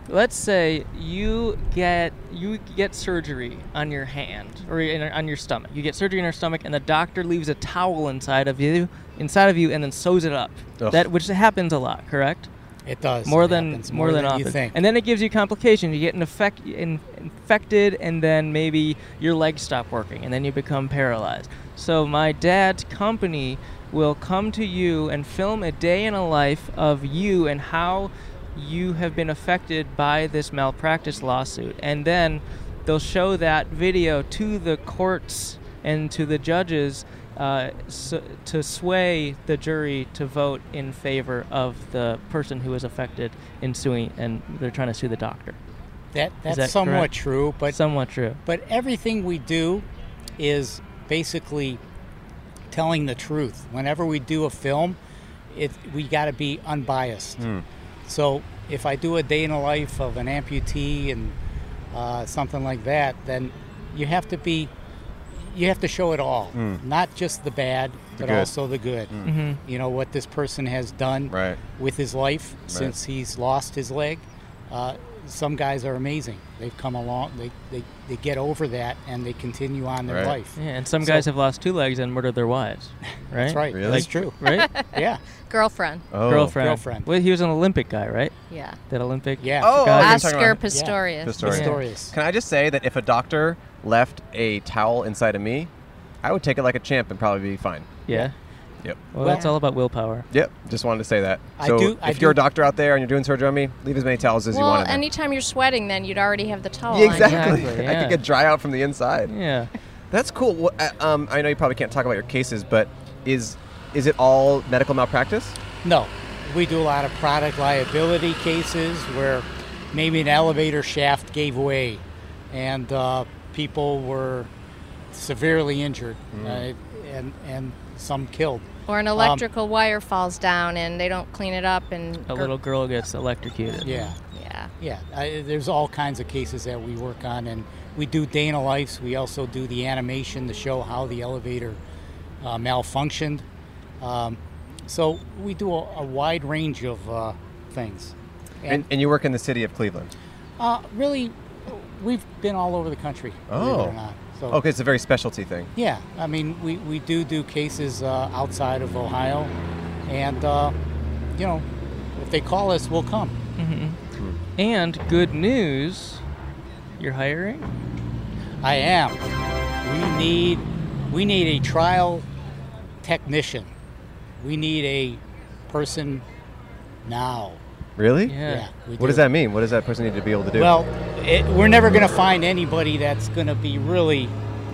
S12: let's say you get you get surgery on your hand or in, on your stomach. You get surgery on your stomach, and the doctor leaves a towel inside of you, inside of you, and then sews it up.
S13: Ugh.
S12: That which happens a lot, correct?
S13: It does.
S12: more
S13: It
S12: than
S13: happens
S12: more,
S13: more
S12: than,
S13: than
S12: often.
S13: you think.
S12: And then it gives you complications. You get an effect, in, infected, and then maybe your legs stop working, and then you become paralyzed. So my dad's company will come to you and film a day in a life of you and how you have been affected by this malpractice lawsuit, and then they'll show that video to the courts and to the judges uh, s to sway the jury to vote in favor of the person who is affected in suing, and they're trying to sue the doctor.
S13: That
S12: Is
S13: that's
S12: that
S13: somewhat
S12: correct?
S13: true, but
S12: somewhat true.
S13: But everything we do is basically telling the truth. Whenever we do a film, it we got to be unbiased.
S3: Hmm.
S13: So if I do a day in the life of an amputee and uh, something like that, then you have to be you have to show it all,
S3: Hmm.
S13: not just the bad,
S3: The
S13: but
S3: good.
S13: also the good.
S3: Hmm. Mhm.
S13: You know what this person has done with his life
S3: Right.
S13: since he's lost his leg. Uh, some guys are amazing. They've come along. They, they, they get over that and they continue on their life.
S12: Yeah, and some
S13: So-
S12: guys have lost two legs and murdered their wives. Right.
S13: That's right. Really? That's true.
S12: Right.
S13: yeah.
S11: Girlfriend.
S2: Oh,
S12: Girlfriend.
S13: Girlfriend.
S12: Well, he was an Olympic guy, right?
S11: Yeah.
S12: That Olympic.
S13: Yeah.
S2: Oh,
S12: guy.
S2: I was talking
S11: Oscar
S2: about-
S11: Pistorius.
S2: Can I just say that if a doctor left a towel inside of me, I would take it like a champ and probably be fine.
S12: Yeah.
S2: Yep.
S12: Well, that's all about willpower.
S2: Yep. Just wanted to say that.
S12: I
S2: So
S12: do-
S2: if
S12: I
S2: you're a
S12: do-
S2: doctor out there and you're doing surgery on me, leave as many towels as you
S11: Well,
S2: want. in there.
S11: anytime you're sweating, then you'd already have the towel.
S2: Yeah,
S11: on.
S2: exactly.
S12: Exactly,
S2: I
S12: yeah.
S2: could get dry out from the inside.
S12: Yeah.
S2: That's cool. Well, uh, um, I know you probably can't talk about your cases, but is is it all medical malpractice?
S13: No, we do a lot of product liability cases where maybe an elevator shaft gave way and uh, people were severely injured
S11: Mm.
S13: uh, and, and some killed.
S11: Or an
S13: Um,
S11: electrical wire falls down and they don't clean it up and
S12: A little girl gets electrocuted.
S13: Yeah.
S11: Yeah.
S13: Yeah. I, there's all kinds of cases that we work on, and we do day in the lives. We also do the animation to show how the elevator uh, malfunctioned. Um, so we do a, a wide range of uh, things.
S2: And, and, you work in the city of Cleveland.
S13: uh, really, we've been all over the country. Believe it or not. So,
S2: Oh. okay, it's a very specialty thing.
S13: Yeah, I mean, we, we do do cases uh, outside of Ohio, and uh, you know, if they call us, we'll come.
S12: hmm And good news, you're hiring.
S13: I am. We need we need a trial technician. We need a person now.
S2: Really?
S13: Yeah, Yeah, we
S2: what
S13: do.
S2: does that mean? What does that person need to be able to do?
S13: Well, it, we're never going to find anybody that's going to be really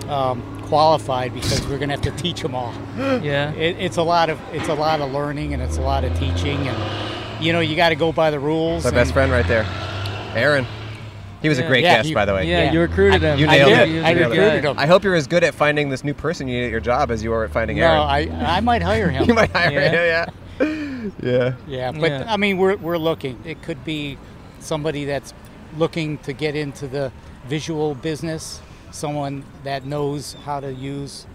S13: um, qualified because we're going to have to teach them all.
S12: Yeah.
S13: It, it's a lot of it's a lot of learning and it's a lot of teaching and you know you got to go by the rules.
S2: my best
S13: and-
S2: friend right there, Aaron. He was a
S13: Yeah.
S2: great
S13: Yeah,
S2: guest,
S13: you-
S2: by the way.
S13: yeah, Yeah. you recruited him.
S2: You
S13: I
S2: nailed
S13: did.
S2: it.
S13: I
S2: You nailed it.
S13: recruited him.
S2: I hope you're as good at finding this new person you need at your job as you are at finding
S13: No,
S2: Aaron.
S13: I I might hire him.
S2: you might hire
S13: Yeah.
S2: him. Yeah.
S13: Yeah,
S2: Yeah.
S13: but I mean, we're, we're looking. It could be somebody that's looking to get into the visual business, someone that knows how to use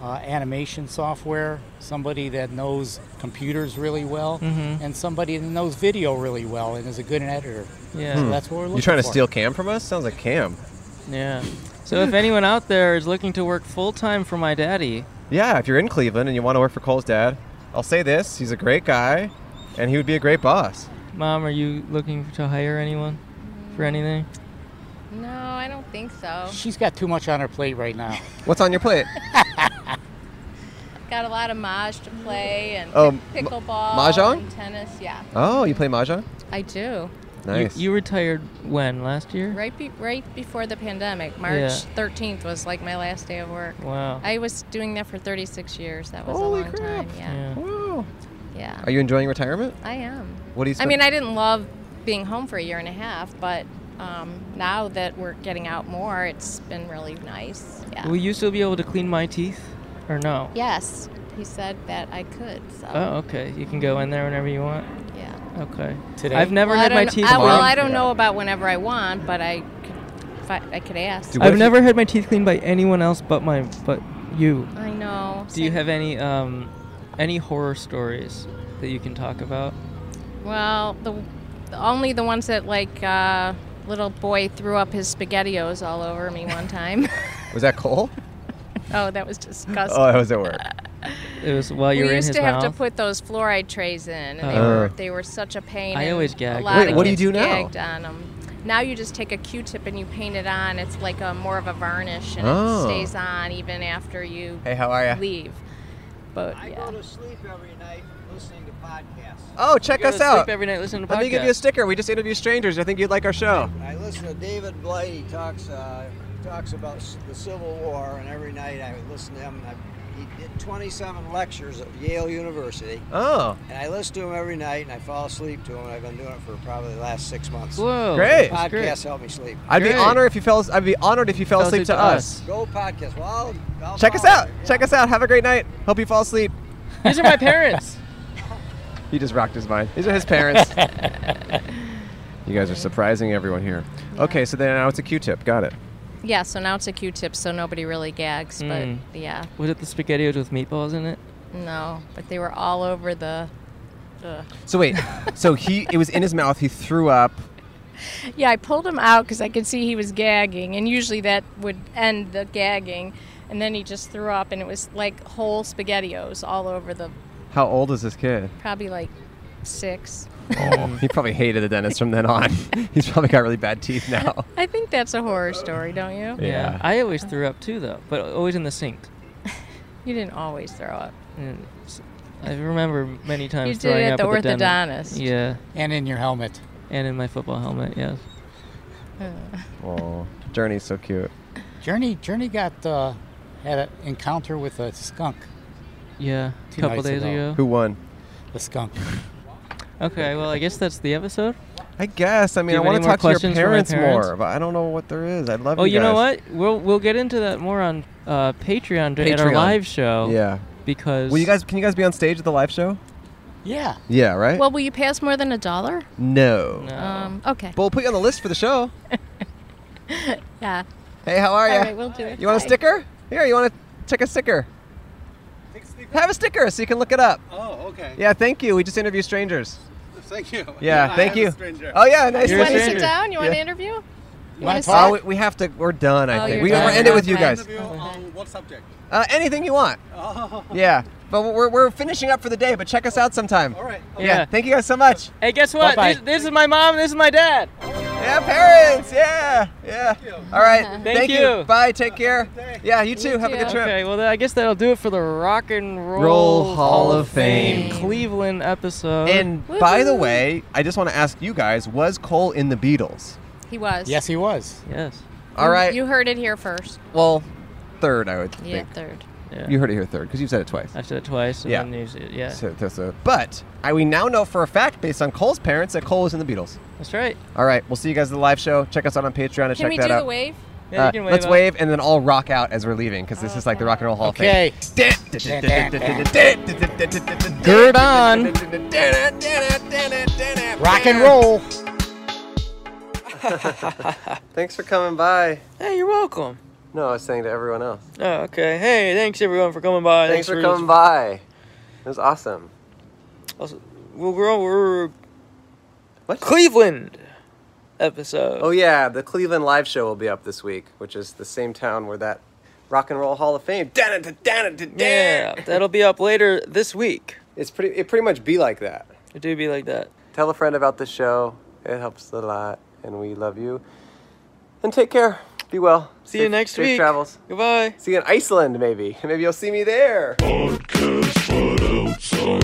S13: uh, animation software, somebody that knows computers really well,
S12: Mhm.
S13: and somebody that knows video really well and is a good editor. so
S2: Hmm.
S13: that's what we're looking.
S2: You trying to
S13: for.
S2: steal Cam from us? Sounds like Cam.
S12: Yeah. So if anyone out there is looking to work full time for my daddy,
S2: Yeah, if you're in Cleveland and you want to work for Cole's dad, I'll say this: he's a great guy, and he would be a great boss.
S12: mom, are you looking to hire anyone for anything?
S11: No, I don't think so.
S13: She's got too much on her plate right now.
S2: What's on your plate?
S11: Got a lot of maj to play and
S2: Oh, m-
S11: pickleball,
S2: mahjong?
S11: and tennis. Yeah,
S2: Oh, you play mahjong?
S11: I do.
S2: Nice.
S12: You, you retired when last year?
S11: Right, be- right before the pandemic, March
S12: Yeah.
S11: 13th was like my last day of work.
S12: Wow.
S11: I was doing that for 36 years. That was
S3: Holy
S11: a long time. Yeah. Yeah.
S2: Are you enjoying retirement?
S11: I am.
S2: What do you?
S11: I
S2: Spend?
S11: mean, I didn't love being home for a year and a half, but um, now that we're getting out more, it's been really nice. Yeah.
S12: Will you still be able to clean my teeth, or no?
S11: Yes, he said that I could. So.
S12: Oh, okay. You can go in there whenever you want.
S11: Yeah.
S12: Okay.
S13: Today?
S12: I've never
S11: Well, I
S12: had my
S11: don't-
S12: teeth.
S11: I, well,
S12: cleaned-
S11: I don't know about whenever I want, but I could, fi- I could ask.
S12: I've never had my teeth cleaned by anyone else but my but you.
S11: I know.
S12: Do you
S11: Oh, Same-
S12: have any um any horror stories that you can talk about?
S11: Well, the only the ones that like uh, little boy threw up his spaghettios all over me one time.
S2: Was that Cole?
S11: oh, that was disgusting.
S2: Oh, I was at work.
S12: It was while you
S11: we
S12: were in
S11: used
S12: his
S11: to have
S12: mouth.
S11: to put those fluoride trays in, and they
S12: Uh.
S11: were they were such a pain.
S12: I
S11: and
S12: always
S11: A
S12: gag.
S11: lot
S12: Wait,
S11: of
S12: what do you
S11: kids
S12: do now?
S11: Gagged on 'em. Now you just take a Q-tip and you paint it on. It's like a more of a varnish, and
S2: Oh.
S11: it stays on even after you
S2: Hey, how are ya?
S11: leave. But
S15: I
S11: yeah.
S15: go to sleep every night listening to podcasts.
S2: Oh, check
S12: You go
S2: us
S12: to
S2: out.
S12: sleep every night listening to
S2: Let me give you a
S12: podcasts.
S2: sticker. We just interview strangers. I think you'd like our show.
S15: I listen to David Blight. He talks uh, talks about s- the Civil War, and every night I listen to him. I, he did 27 lectures at Yale University.
S2: Oh.
S15: And I listen to him every night, and I fall asleep to him. I've been doing it for probably the last six months.
S2: Whoa.
S15: Podcasts
S2: Great. That's great.
S15: help me sleep.
S2: I'd be honored if you fell. I'd be honored if you fell, asleep to us.
S15: Go podcast. Well, I'll, I'll
S2: Check us
S15: follow
S2: out. Check us out. Have a great night. Hope you fall asleep.
S12: These are my parents.
S2: He just rocked his mind. These are his parents. you guys are surprising everyone here. Okay, so then now it's a Q-tip. Got it.
S11: Yeah, so now it's a Q-tip, so nobody really gags.
S12: Mm.
S11: But yeah,
S12: Was it the spaghettios with meatballs in it?
S11: no, but they were all over the. the
S2: So wait. so he it was in his mouth. He threw up.
S11: Yeah, I pulled him out because I could see he was gagging, and usually that would end the gagging, and then he just threw up, and it was like whole spaghettios all over the
S2: How old is this kid?
S11: probably like six.
S2: Oh, he probably hated the dentist from then on. He's probably got really bad teeth now.
S11: I think that's a horror story, don't you?
S2: Yeah.
S12: I
S11: Uh-huh.
S12: always threw up too, though, but always in the sink.
S11: You didn't always throw up.
S12: And s- I remember many times
S11: You did
S12: throwing
S11: it at
S12: up
S11: the
S12: at the dentist.
S11: orthodontist.
S12: Yeah.
S13: And in your helmet.
S12: And in my football helmet, yes.
S2: Oh, Journey's so cute.
S13: Journey Journey got uh, had an encounter with a skunk.
S12: Yeah,
S13: two
S12: couple
S13: nights
S12: days ago.
S2: Who won?
S13: The skunk.
S12: Okay, well, I guess that's the episode.
S2: I guess. I
S12: Do
S2: mean, I
S12: you have
S2: want
S12: any
S2: to
S12: more
S2: talk to your
S12: questions for my
S2: parents,
S12: parents?
S2: more, but I don't know what there is. I'd love.
S12: Oh, you, know
S2: guys.
S12: what? We'll we'll get into that more on uh, Patreon, d- at our
S2: Patreon.
S12: live show.
S2: Yeah.
S12: Because
S2: Will you guys? Can you guys be on stage at the live show?
S13: Yeah.
S2: Yeah. Right.
S11: Well, will you pay us more than a dollar?
S2: no.
S11: Um, okay.
S2: But we'll put you on the list for the show.
S11: Yeah.
S2: Hey, how are you?
S11: All right, we'll do it.
S2: You want a
S11: Bye.
S2: sticker? Here, you want to check a sticker? Have a sticker so you can look it up.
S15: Oh, okay.
S2: Yeah, thank you. We just interview strangers.
S15: Thank you.
S2: Yeah,
S15: I
S2: thank
S15: am a
S2: you.
S15: stranger.
S2: Oh yeah, nice.
S11: you
S2: to
S11: want to
S2: meet
S11: sit down? You want to interview? You wanna sit?
S2: Oh, we, we have to. We're done. I
S11: Oh,
S2: think
S11: you're
S2: we
S11: done.
S2: we're end it with you
S11: Okay.
S2: guys.
S15: On what subject?
S2: Uh, anything you want.
S15: Oh.
S2: Yeah, but we're, we're finishing up for the day. But check us out sometime. All right.
S12: okay.
S2: Yeah.
S12: Yeah.
S2: Thank you guys so much.
S12: Hey, guess what?
S2: Bye-bye.
S12: This, this is my mom. This is my dad.
S2: Yeah, parents. Yeah, yeah. All right.
S12: Thank
S2: you.
S12: you.
S2: Bye. Take care. Yeah, you too. Have a good trip.
S12: Okay, well, then I guess that'll do it for the Rock and Roll,
S2: Roll Hall of Fame.
S12: Cleveland episode.
S2: And by the way, I just want to ask you guys: Was Cole in the Beatles?
S11: He was.
S13: he was.
S12: Yes.
S2: All right.
S11: You heard it here first.
S2: well, third, I would
S11: Yeah,
S2: think.
S11: third.
S12: Yeah.
S2: You heard it here third because you've said it twice.
S12: I've said it twice. And
S2: Yeah.
S12: Then you s- yeah.
S2: So- so- so- But I, we now know for a fact, based on Cole's parents, that Cole was in the Beatles.
S12: That's right.
S2: All right, we'll see you guys at the live show. Check us out on Patreon
S11: Can
S2: and check
S11: we
S2: that
S11: do
S2: out.
S11: the wave?
S12: Yeah, you
S2: Uh,
S12: can wave
S2: let's
S12: out.
S2: wave and then all rock out as we're leaving because this is like the Rock and Roll Hall of Fame.
S12: Gird on.
S13: Rock and roll.
S2: Thanks for coming by.
S12: Hey, you're welcome.
S2: No, I was saying to everyone else.
S12: Oh, okay. Hey, Uh, thanks everyone for coming by.
S2: Thanks for coming by. It was awesome.
S12: Also, we'll grow. We're what? Cleveland episode.
S2: Oh yeah, the Cleveland live show will be up this week, which is the same town where that Rock and Roll Hall of Fame.
S12: Yeah, that'll be up later this week.
S2: It's pretty. It pretty much be like that.
S12: It do be like that.
S2: Tell a friend about the show. It helps a lot, and we love you. And take care. Be well.
S12: See you next
S2: safe
S12: week.
S2: Travels.
S12: Goodbye.
S2: See you in Iceland, maybe. Maybe you'll see me there.
S4: Podcast but outside.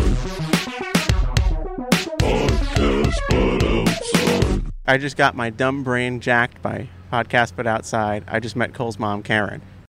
S4: Podcast but outside.
S9: I just got my dumb brain jacked by Podcast But Outside. I just met Cole's mom, Karen.